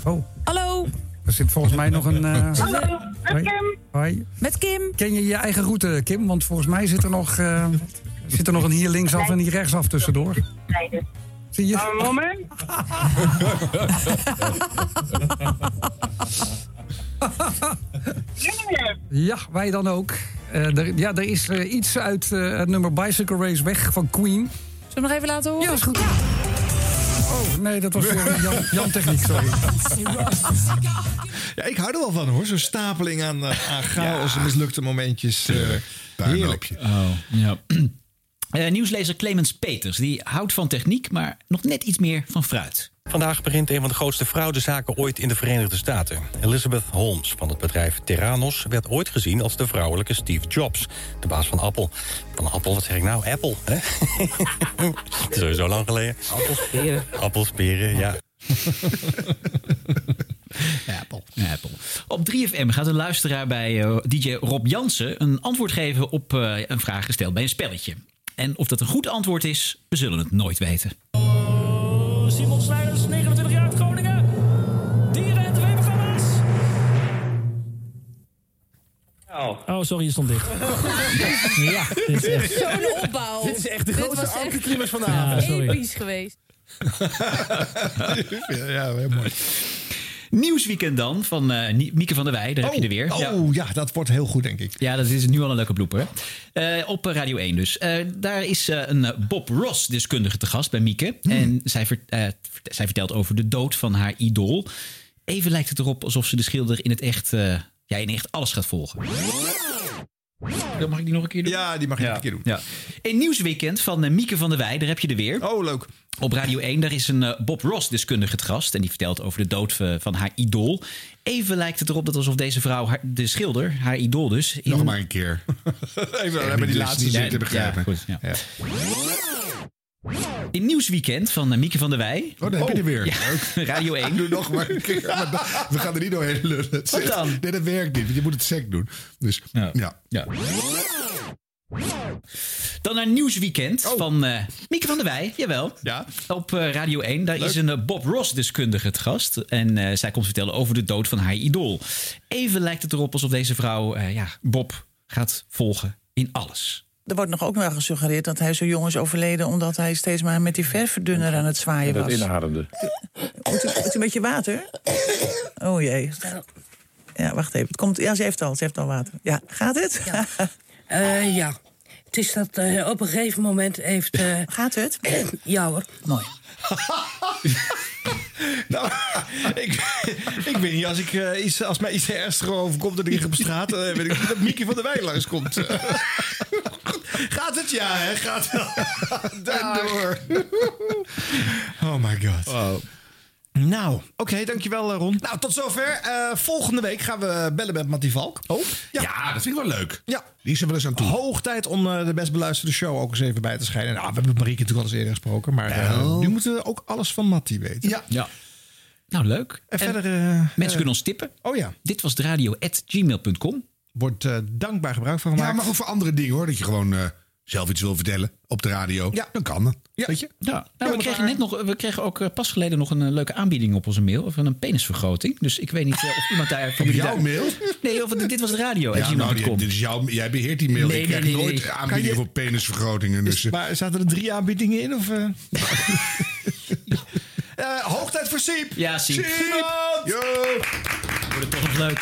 S12: Oh. Hallo. Er zit volgens mij nog een... eh,
S17: Hallo, met
S12: hoi.
S17: Kim.
S12: Hoi. Met Kim. Ken je je eigen route, Kim? Want volgens mij zit er nog, eh, zit er nog een hier linksaf en hier rechtsaf tussendoor. Zie je?
S17: Een moment.
S12: Ja, wij dan ook. Eh, er, ja, er is eh, iets uit eh, het nummer Bicycle Race weg van Queen.
S10: Zullen we nog even laten horen? Ja, is goed.
S12: Oh, nee, dat was weer Jan, Jan Techniek, sorry.
S6: Ja, ik hou er wel van hoor. Zo'n stapeling aan, eh, aan chaos en mislukte momentjes. eh, heerlijk.
S4: Oh, ja. Eh, nieuwslezer Clemens Peters, die houdt van techniek, maar nog net iets meer van fruit.
S13: Vandaag begint een van de grootste fraudezaken ooit in de Verenigde Staten. Elizabeth Holmes van het bedrijf Terranos werd ooit gezien als de vrouwelijke Steve Jobs, de baas van Apple. Van Apple, wat zeg ik nou? Apple, hè? Het is sowieso lang geleden. Appelsperen. Appelsperen, ja.
S4: Apple. Apple. Op 3FM gaat een luisteraar bij eh, DJ Rob Jansen een antwoord geven op eh, een vraag gesteld bij een spelletje. En of dat een goed antwoord is, we zullen het nooit weten.
S17: Simon Snijders, 29 jaar uit Groningen. Dieren en tv-programma's.
S2: Oh, sorry, je stond dicht.
S17: Ja,
S2: dit is echt-
S10: Zo'n opbouw.
S2: Dit is echt de
S10: Dit
S2: grootste
S10: was echt
S2: anticlimax van de avond. Ja, sorry.
S10: Episch geweest.
S6: ja, ja, heel mooi.
S4: Nieuwsweekend dan van eh, Nie- Mieke van der Wij. Daar heb je er weer.
S6: Oh,
S4: Ja.
S6: ja, dat wordt heel goed, denk ik.
S4: Ja, dat is nu al een leuke blooper. Eh, op eh, Radio 1 dus. Eh, daar is eh, een eh, Bob Ross-deskundige te gast bij Mieke.
S6: Hmm.
S4: En zij, ver- eh, vert- zij vertelt over de dood van haar idool. Even lijkt het erop alsof ze de schilder in het echt, eh, ja, in echt alles gaat volgen. Dan mag ik die nog een keer doen?
S6: Ja, die mag je nog een keer doen.
S4: Ja. In Nieuwsweekend van eh, Mieke van der Wij, daar heb je er weer.
S6: Oh, leuk.
S4: Op Radio 1, daar is een eh, Bob Ross-deskundige te gast. En die vertelt over de dood eh, van haar idool. Even lijkt het erop dat alsof deze vrouw, haar- de schilder, haar idool dus... Nog maar
S3: een keer.
S6: Even
S4: Echt
S6: alleen maar
S4: niet
S6: die
S4: dus
S6: laatste
S4: niet-
S6: zin
S4: ja,
S6: te begrijpen.
S4: ja, goed, ja. In Nieuwsweekend van eh, Mieke van der Wij.
S3: Oh, daar heb je er weer.
S4: Ja, Radio 1.
S3: Doe nog maar een keer. Maar da- We gaan er niet doorheen lullen. Het
S4: Wat
S3: zegt-
S4: dan?
S3: Nee, dat werkt niet. want Je moet het sec doen. Dus ja. ja.
S4: Dan naar Nieuwsweekend
S3: Oh.
S4: van eh, Mieke van der Wij. Jawel. Op eh, Radio 1. Daar is een eh, Bob Ross-deskundige te gast. En eh, zij komt vertellen over de dood van haar idool. Even lijkt het erop alsof deze vrouw eh, ja, Bob gaat volgen in alles.
S19: Er wordt nog ook wel gesuggereerd dat hij zo jong is overleden... omdat hij steeds maar met die ververdunner aan het zwaaien
S23: dat
S19: was.
S23: inademde.
S19: Moet u, moet u een beetje water? Oh jee. Ja, wacht even. Het komt, ja, ze heeft al, ze heeft al water. Ja, gaat het?
S21: Ja. Eh, ja. Het is dat eh, op een gegeven moment heeft... eh,
S19: Gaat het?
S21: ja hoor.
S19: Mooi.
S6: Nou, ik, ik weet niet, als, ik, eh, iets, als mij iets ernstiger overkomt dan ik op straat... eh, weet ik niet dat Mieke van der Wij langskomt. Gaat het? Ja, hè? Gaat wel. En door. Oh my god. Nou, oké, dankjewel eh, Ron. Nou, tot zover. Eh, volgende week gaan we bellen met Mattie Valk. Oh? Ja.
S3: dat vind ik wel leuk.
S6: Ja.
S3: Die is er wel eens aan toe.
S6: Hoog tijd om eh, de best beluisterde show ook eens even bij te schijnen. Nou, we hebben Marieke natuurlijk al eens eerder gesproken. Maar eh, nu moeten we ook alles van Mattie weten. Ja.
S4: Ja. Nou, leuk.
S6: En verder, eh,
S4: mensen kunnen ons tippen.
S6: Oh ja.
S4: Dit was de radio at gmail.com.
S6: Wordt eh, dankbaar gebruik van
S3: Ja, maar ook voor andere dingen hoor. Dat je gewoon eh, zelf iets wil vertellen op de radio. Dan kan dat. Weet je?
S4: Ja. Nou, we kregen, net nog, we kregen ook eh, pas geleden nog een eh, leuke aanbieding op onze mail. Van een penisvergroting. Dus ik weet niet eh, of iemand daar...
S3: Op jouw mail?
S4: Nee, of, dit was de radio. at
S3: Ja, nou,
S4: gmail.com.
S3: dit- dit is jouw, jij beheert die mail.
S4: Nee,
S3: ik
S4: nee,
S3: krijg
S4: nee,
S3: nooit
S4: nee.
S6: Kan je-
S3: aanbiedingen voor penisvergrotingen. Dus, eh,
S6: Maar zaten er drie aanbiedingen in? Of, eh? Eh, hoog tijd voor Siep.
S4: Ja, Siep.
S6: Siep!
S4: Wordt het toch nog leuk.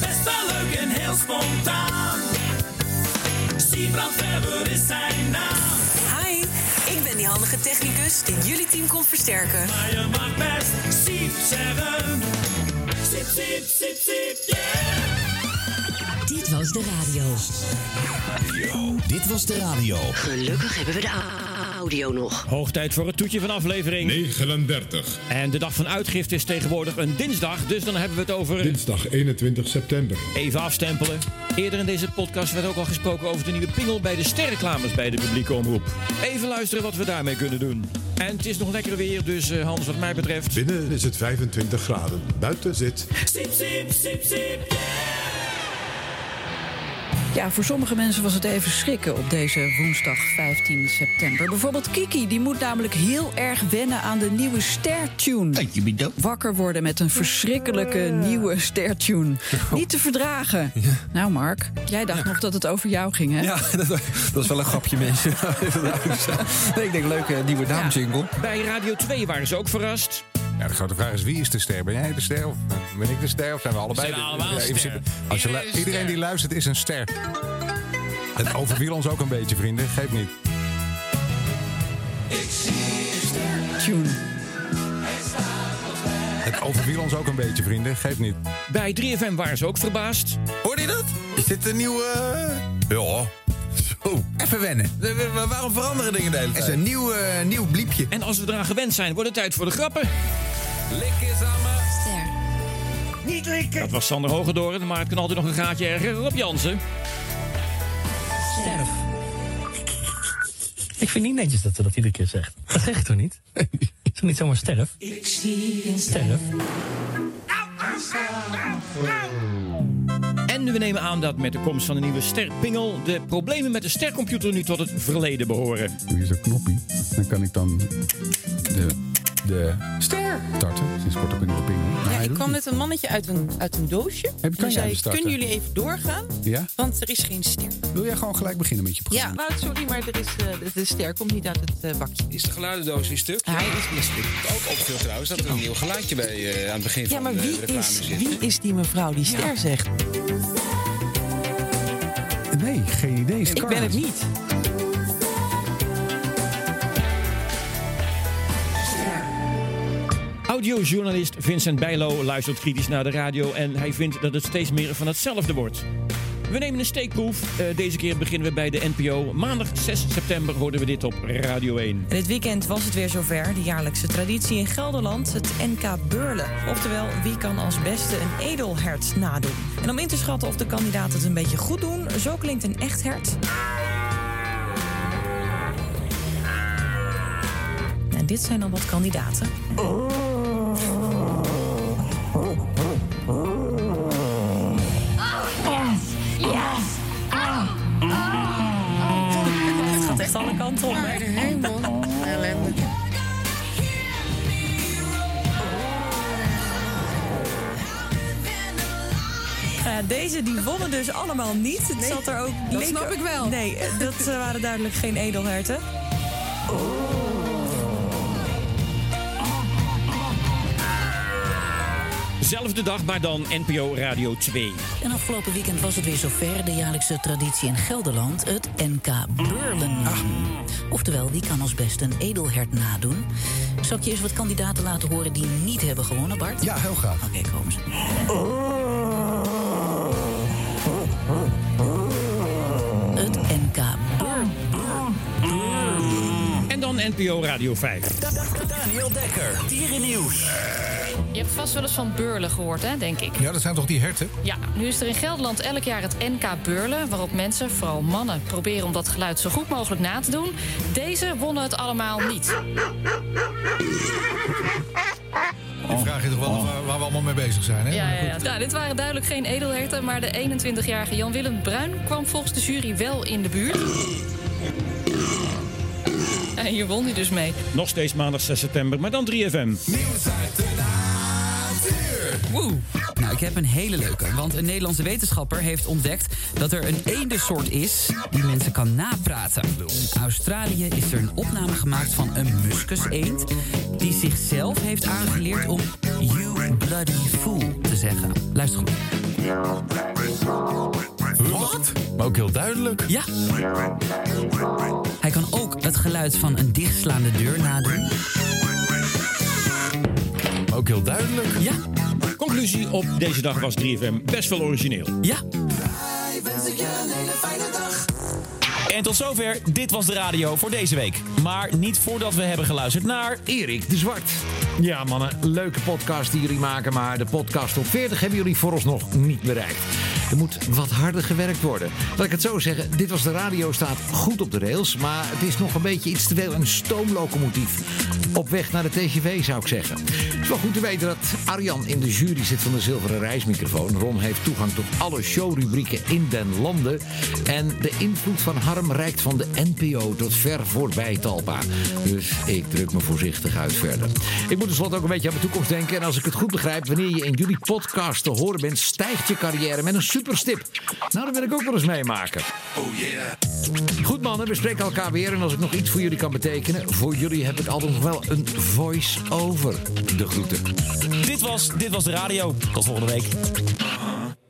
S29: Best wel leuk en heel spontaan. Siebrand Weber is zijn naam.
S17: Hi, ik ben die handige technicus die jullie team komt versterken.
S29: Maar je mag best Siep zeggen. Siep, siep, siep, siep, yeah.
S17: Dit was de radio.
S13: Dit was de radio.
S17: Gelukkig hebben we de a- audio nog.
S13: Hoog tijd voor het toetje van aflevering 39. En de dag van uitgifte is tegenwoordig een dinsdag, dus dan hebben we het over.
S10: Dinsdag 21 september.
S13: Even afstempelen. Eerder in deze podcast werd ook al gesproken over de nieuwe pingel bij de sterreclames bij de publieke omroep. Even luisteren wat we daarmee kunnen doen. En het is nog lekker weer, dus eh, Hans, wat mij betreft.
S10: Binnen is het 25 graden. Buiten zit
S29: Siep, siep, siep, siep,
S18: Ja, voor sommige mensen was het even schrikken op deze woensdag 15 september. Bijvoorbeeld Kiki, die moet namelijk heel erg wennen aan de nieuwe stertune. Wakker worden met een verschrikkelijke nieuwe stertune. Niet te verdragen. Nou, Mark, jij dacht nog dat het over jou ging, hè?
S9: Ja, dat, dat is wel een grapje, mensen. nee, ik denk,
S21: eh,
S9: leuke nieuwe naamjingle.
S13: Bij Radio 2 waren ze ook verrast.
S21: Ja, de grote vraag is wie is de ster? Ben jij de ster of ben ik de ster? Of zijn we allebei
S13: Zijn we
S21: de-
S13: allemaal
S21: Ja, in
S13: ster?
S21: principe, als je lu-
S13: Iedereen is
S21: Iedereen die luistert is een ster. Het overviel ons ook een beetje, vrienden. Geef niet.
S29: Ik zie een ster.
S18: Tune.
S21: Het overviel ons ook een beetje, vrienden. Geef niet.
S13: Bij 3FM waren ze ook verbaasd.
S21: Hoorde je dat? Is dit een nieuwe... eh? Ja.
S13: Zo. Even wennen. Waarom veranderen dingen de hele
S21: tijd?
S13: Het is een nieuw, eh, nieuw bliepje. En als we eraan gewend zijn, wordt het tijd voor de grappen.
S21: Lik is aan
S29: Ster. Niet likken.
S13: Dat was Sander Hogedoren, maar het kan altijd nog een gaatje erger. Rob Jansen.
S29: Sterf.
S17: Ik vind niet netjes dat ze dat iedere keer zegt. Dat zeg je toch niet? Is toch niet zomaar sterf?
S29: Ik zie een
S17: Sterf.
S13: En we nemen aan dat met de komst van de nieuwe sterpingel... de problemen met de stercomputer nu tot het verleden behoren.
S21: Doe je zo'n knoppie, dan kan ik dan de, de ster starten. Sinds kort op een nieuwe pingel.
S10: Ja, ik kwam net een mannetje uit een, uit een doosje. en
S21: jij
S10: die zei,
S21: hem starten?
S10: kunnen jullie even doorgaan?
S21: Ja?
S10: Want er is geen ster.
S21: Wil jij gewoon gelijk beginnen met je
S10: Ja, Wout, sorry, maar er is, eh, de, de ster komt niet uit het eh, bakje.
S17: Is de geluidendoos weer stuk?
S10: Hij is weer stuk.
S17: Ook opviel trouwens dat er een nieuw geluidje bij eh, aan het begin
S10: Ja,
S17: van
S10: maar
S17: eh,
S10: wie
S17: de reclame
S10: is,
S17: zit.
S10: wie is die mevrouw die ster zegt?
S21: Nee, geen idee.
S10: Ik ben het niet.
S13: Audiojournalist Vincent Bijlo luistert kritisch naar de radio... en hij vindt dat het steeds meer van hetzelfde wordt. We nemen een steekproef. Eh, deze keer beginnen we bij de NPO. Maandag 6 september hoorden we dit op Radio 1.
S10: En dit weekend was het weer zover, de jaarlijkse traditie in Gelderland, het NK Beurlen. Oftewel, wie kan als beste een edelhert nadoen? En om in te schatten of de kandidaten het een beetje goed doen, zo klinkt een echt hert. En dit zijn dan wat kandidaten. Ah. Het gaat echt alle kanten op. hè? Nou ja, deze die wonnen dus allemaal niet. Het zat er ook,
S12: dat
S10: leek
S12: snap
S10: er-
S12: ik wel.
S10: Nee, eh, dat eh, waren duidelijk geen edelherten.
S13: Zelfde dag, maar dan NPO Radio 2.
S38: En afgelopen weekend was het weer zover. De jaarlijkse traditie in Gelderland, het NK Beurlen. Oftewel, wie kan als beste een edelhert nadoen? Zal ik je eens wat kandidaten laten horen die niet hebben gewonnen, Bart? Ja, heel graag. Oké, kom eens. Het NK
S13: En dan NPO Radio 5.
S38: Daniel Dekker,
S32: Dierennieuws. Je hebt vast wel eens van Beurlen gehoord, hè, denk ik.
S21: Ja, dat zijn toch die herten?
S32: Ja, nu is er in Gelderland elk jaar het NK Beurlen... waarop mensen, vooral mannen, proberen om dat geluid zo goed mogelijk na te doen. Deze wonnen het allemaal niet.
S21: Dan vraag je toch wel
S10: Oh.
S21: af waar, waar we allemaal mee bezig zijn, hè?
S32: Ja,
S21: Maar
S32: ja, ja.
S21: goed.
S32: Nou, dit waren duidelijk geen edelherten... maar de 21-jarige Jan-Willem Bruin kwam volgens de jury wel in de buurt. En hier won hij dus mee.
S13: Nog steeds maandag 6 september, maar dan 3FM.
S32: Woe.
S39: Nou, ik heb een hele leuke. Want een Nederlandse wetenschapper heeft ontdekt dat er een eendensoort is die mensen kan napraten. In Australië is er een opname gemaakt van een muskus-eend die zichzelf heeft aangeleerd om you bloody fool te zeggen. Luister goed. Wat?
S21: Maar ook heel duidelijk.
S39: Ja. Hij kan ook het geluid van een dichtslaande deur nadoen.
S21: Ook heel duidelijk.
S39: Ja.
S13: Conclusie op deze dag was 3FM best wel origineel.
S39: Ja.
S20: En tot zover, dit was de radio voor deze week. Maar niet voordat we hebben geluisterd naar Erik de Zwart.
S23: Ja, mannen, leuke podcast die jullie maken. Maar de podcast op 40 hebben jullie voor ons nog niet bereikt. Er moet wat harder gewerkt worden. Laat ik het zo zeggen, dit was de radio staat goed op de rails. Maar het is nog een beetje iets te veel een stoomlocomotief. Op weg naar de TGV zou ik zeggen. Het is wel goed te weten dat Arjan in de jury zit van de Zilveren Reismicrofoon. Ron heeft toegang tot alle showrubrieken in den landen. En de invloed van Harm reikt van de NPO tot ver voorbij Talpa. Dus ik druk me voorzichtig uit verder. Ik moet tenslotte ook een beetje aan mijn toekomst denken. En als ik het goed begrijp, wanneer je in jullie podcast te horen bent, stijgt je carrière met een superstip. Nou, dat wil ik ook wel eens meemaken.
S9: Oh yeah.
S23: Goed mannen, we spreken elkaar weer. En als ik nog iets voor jullie kan betekenen, voor jullie heb ik altijd nog wel een voice-over. De groeten.
S20: Dit was, dit was de radio. Tot volgende week.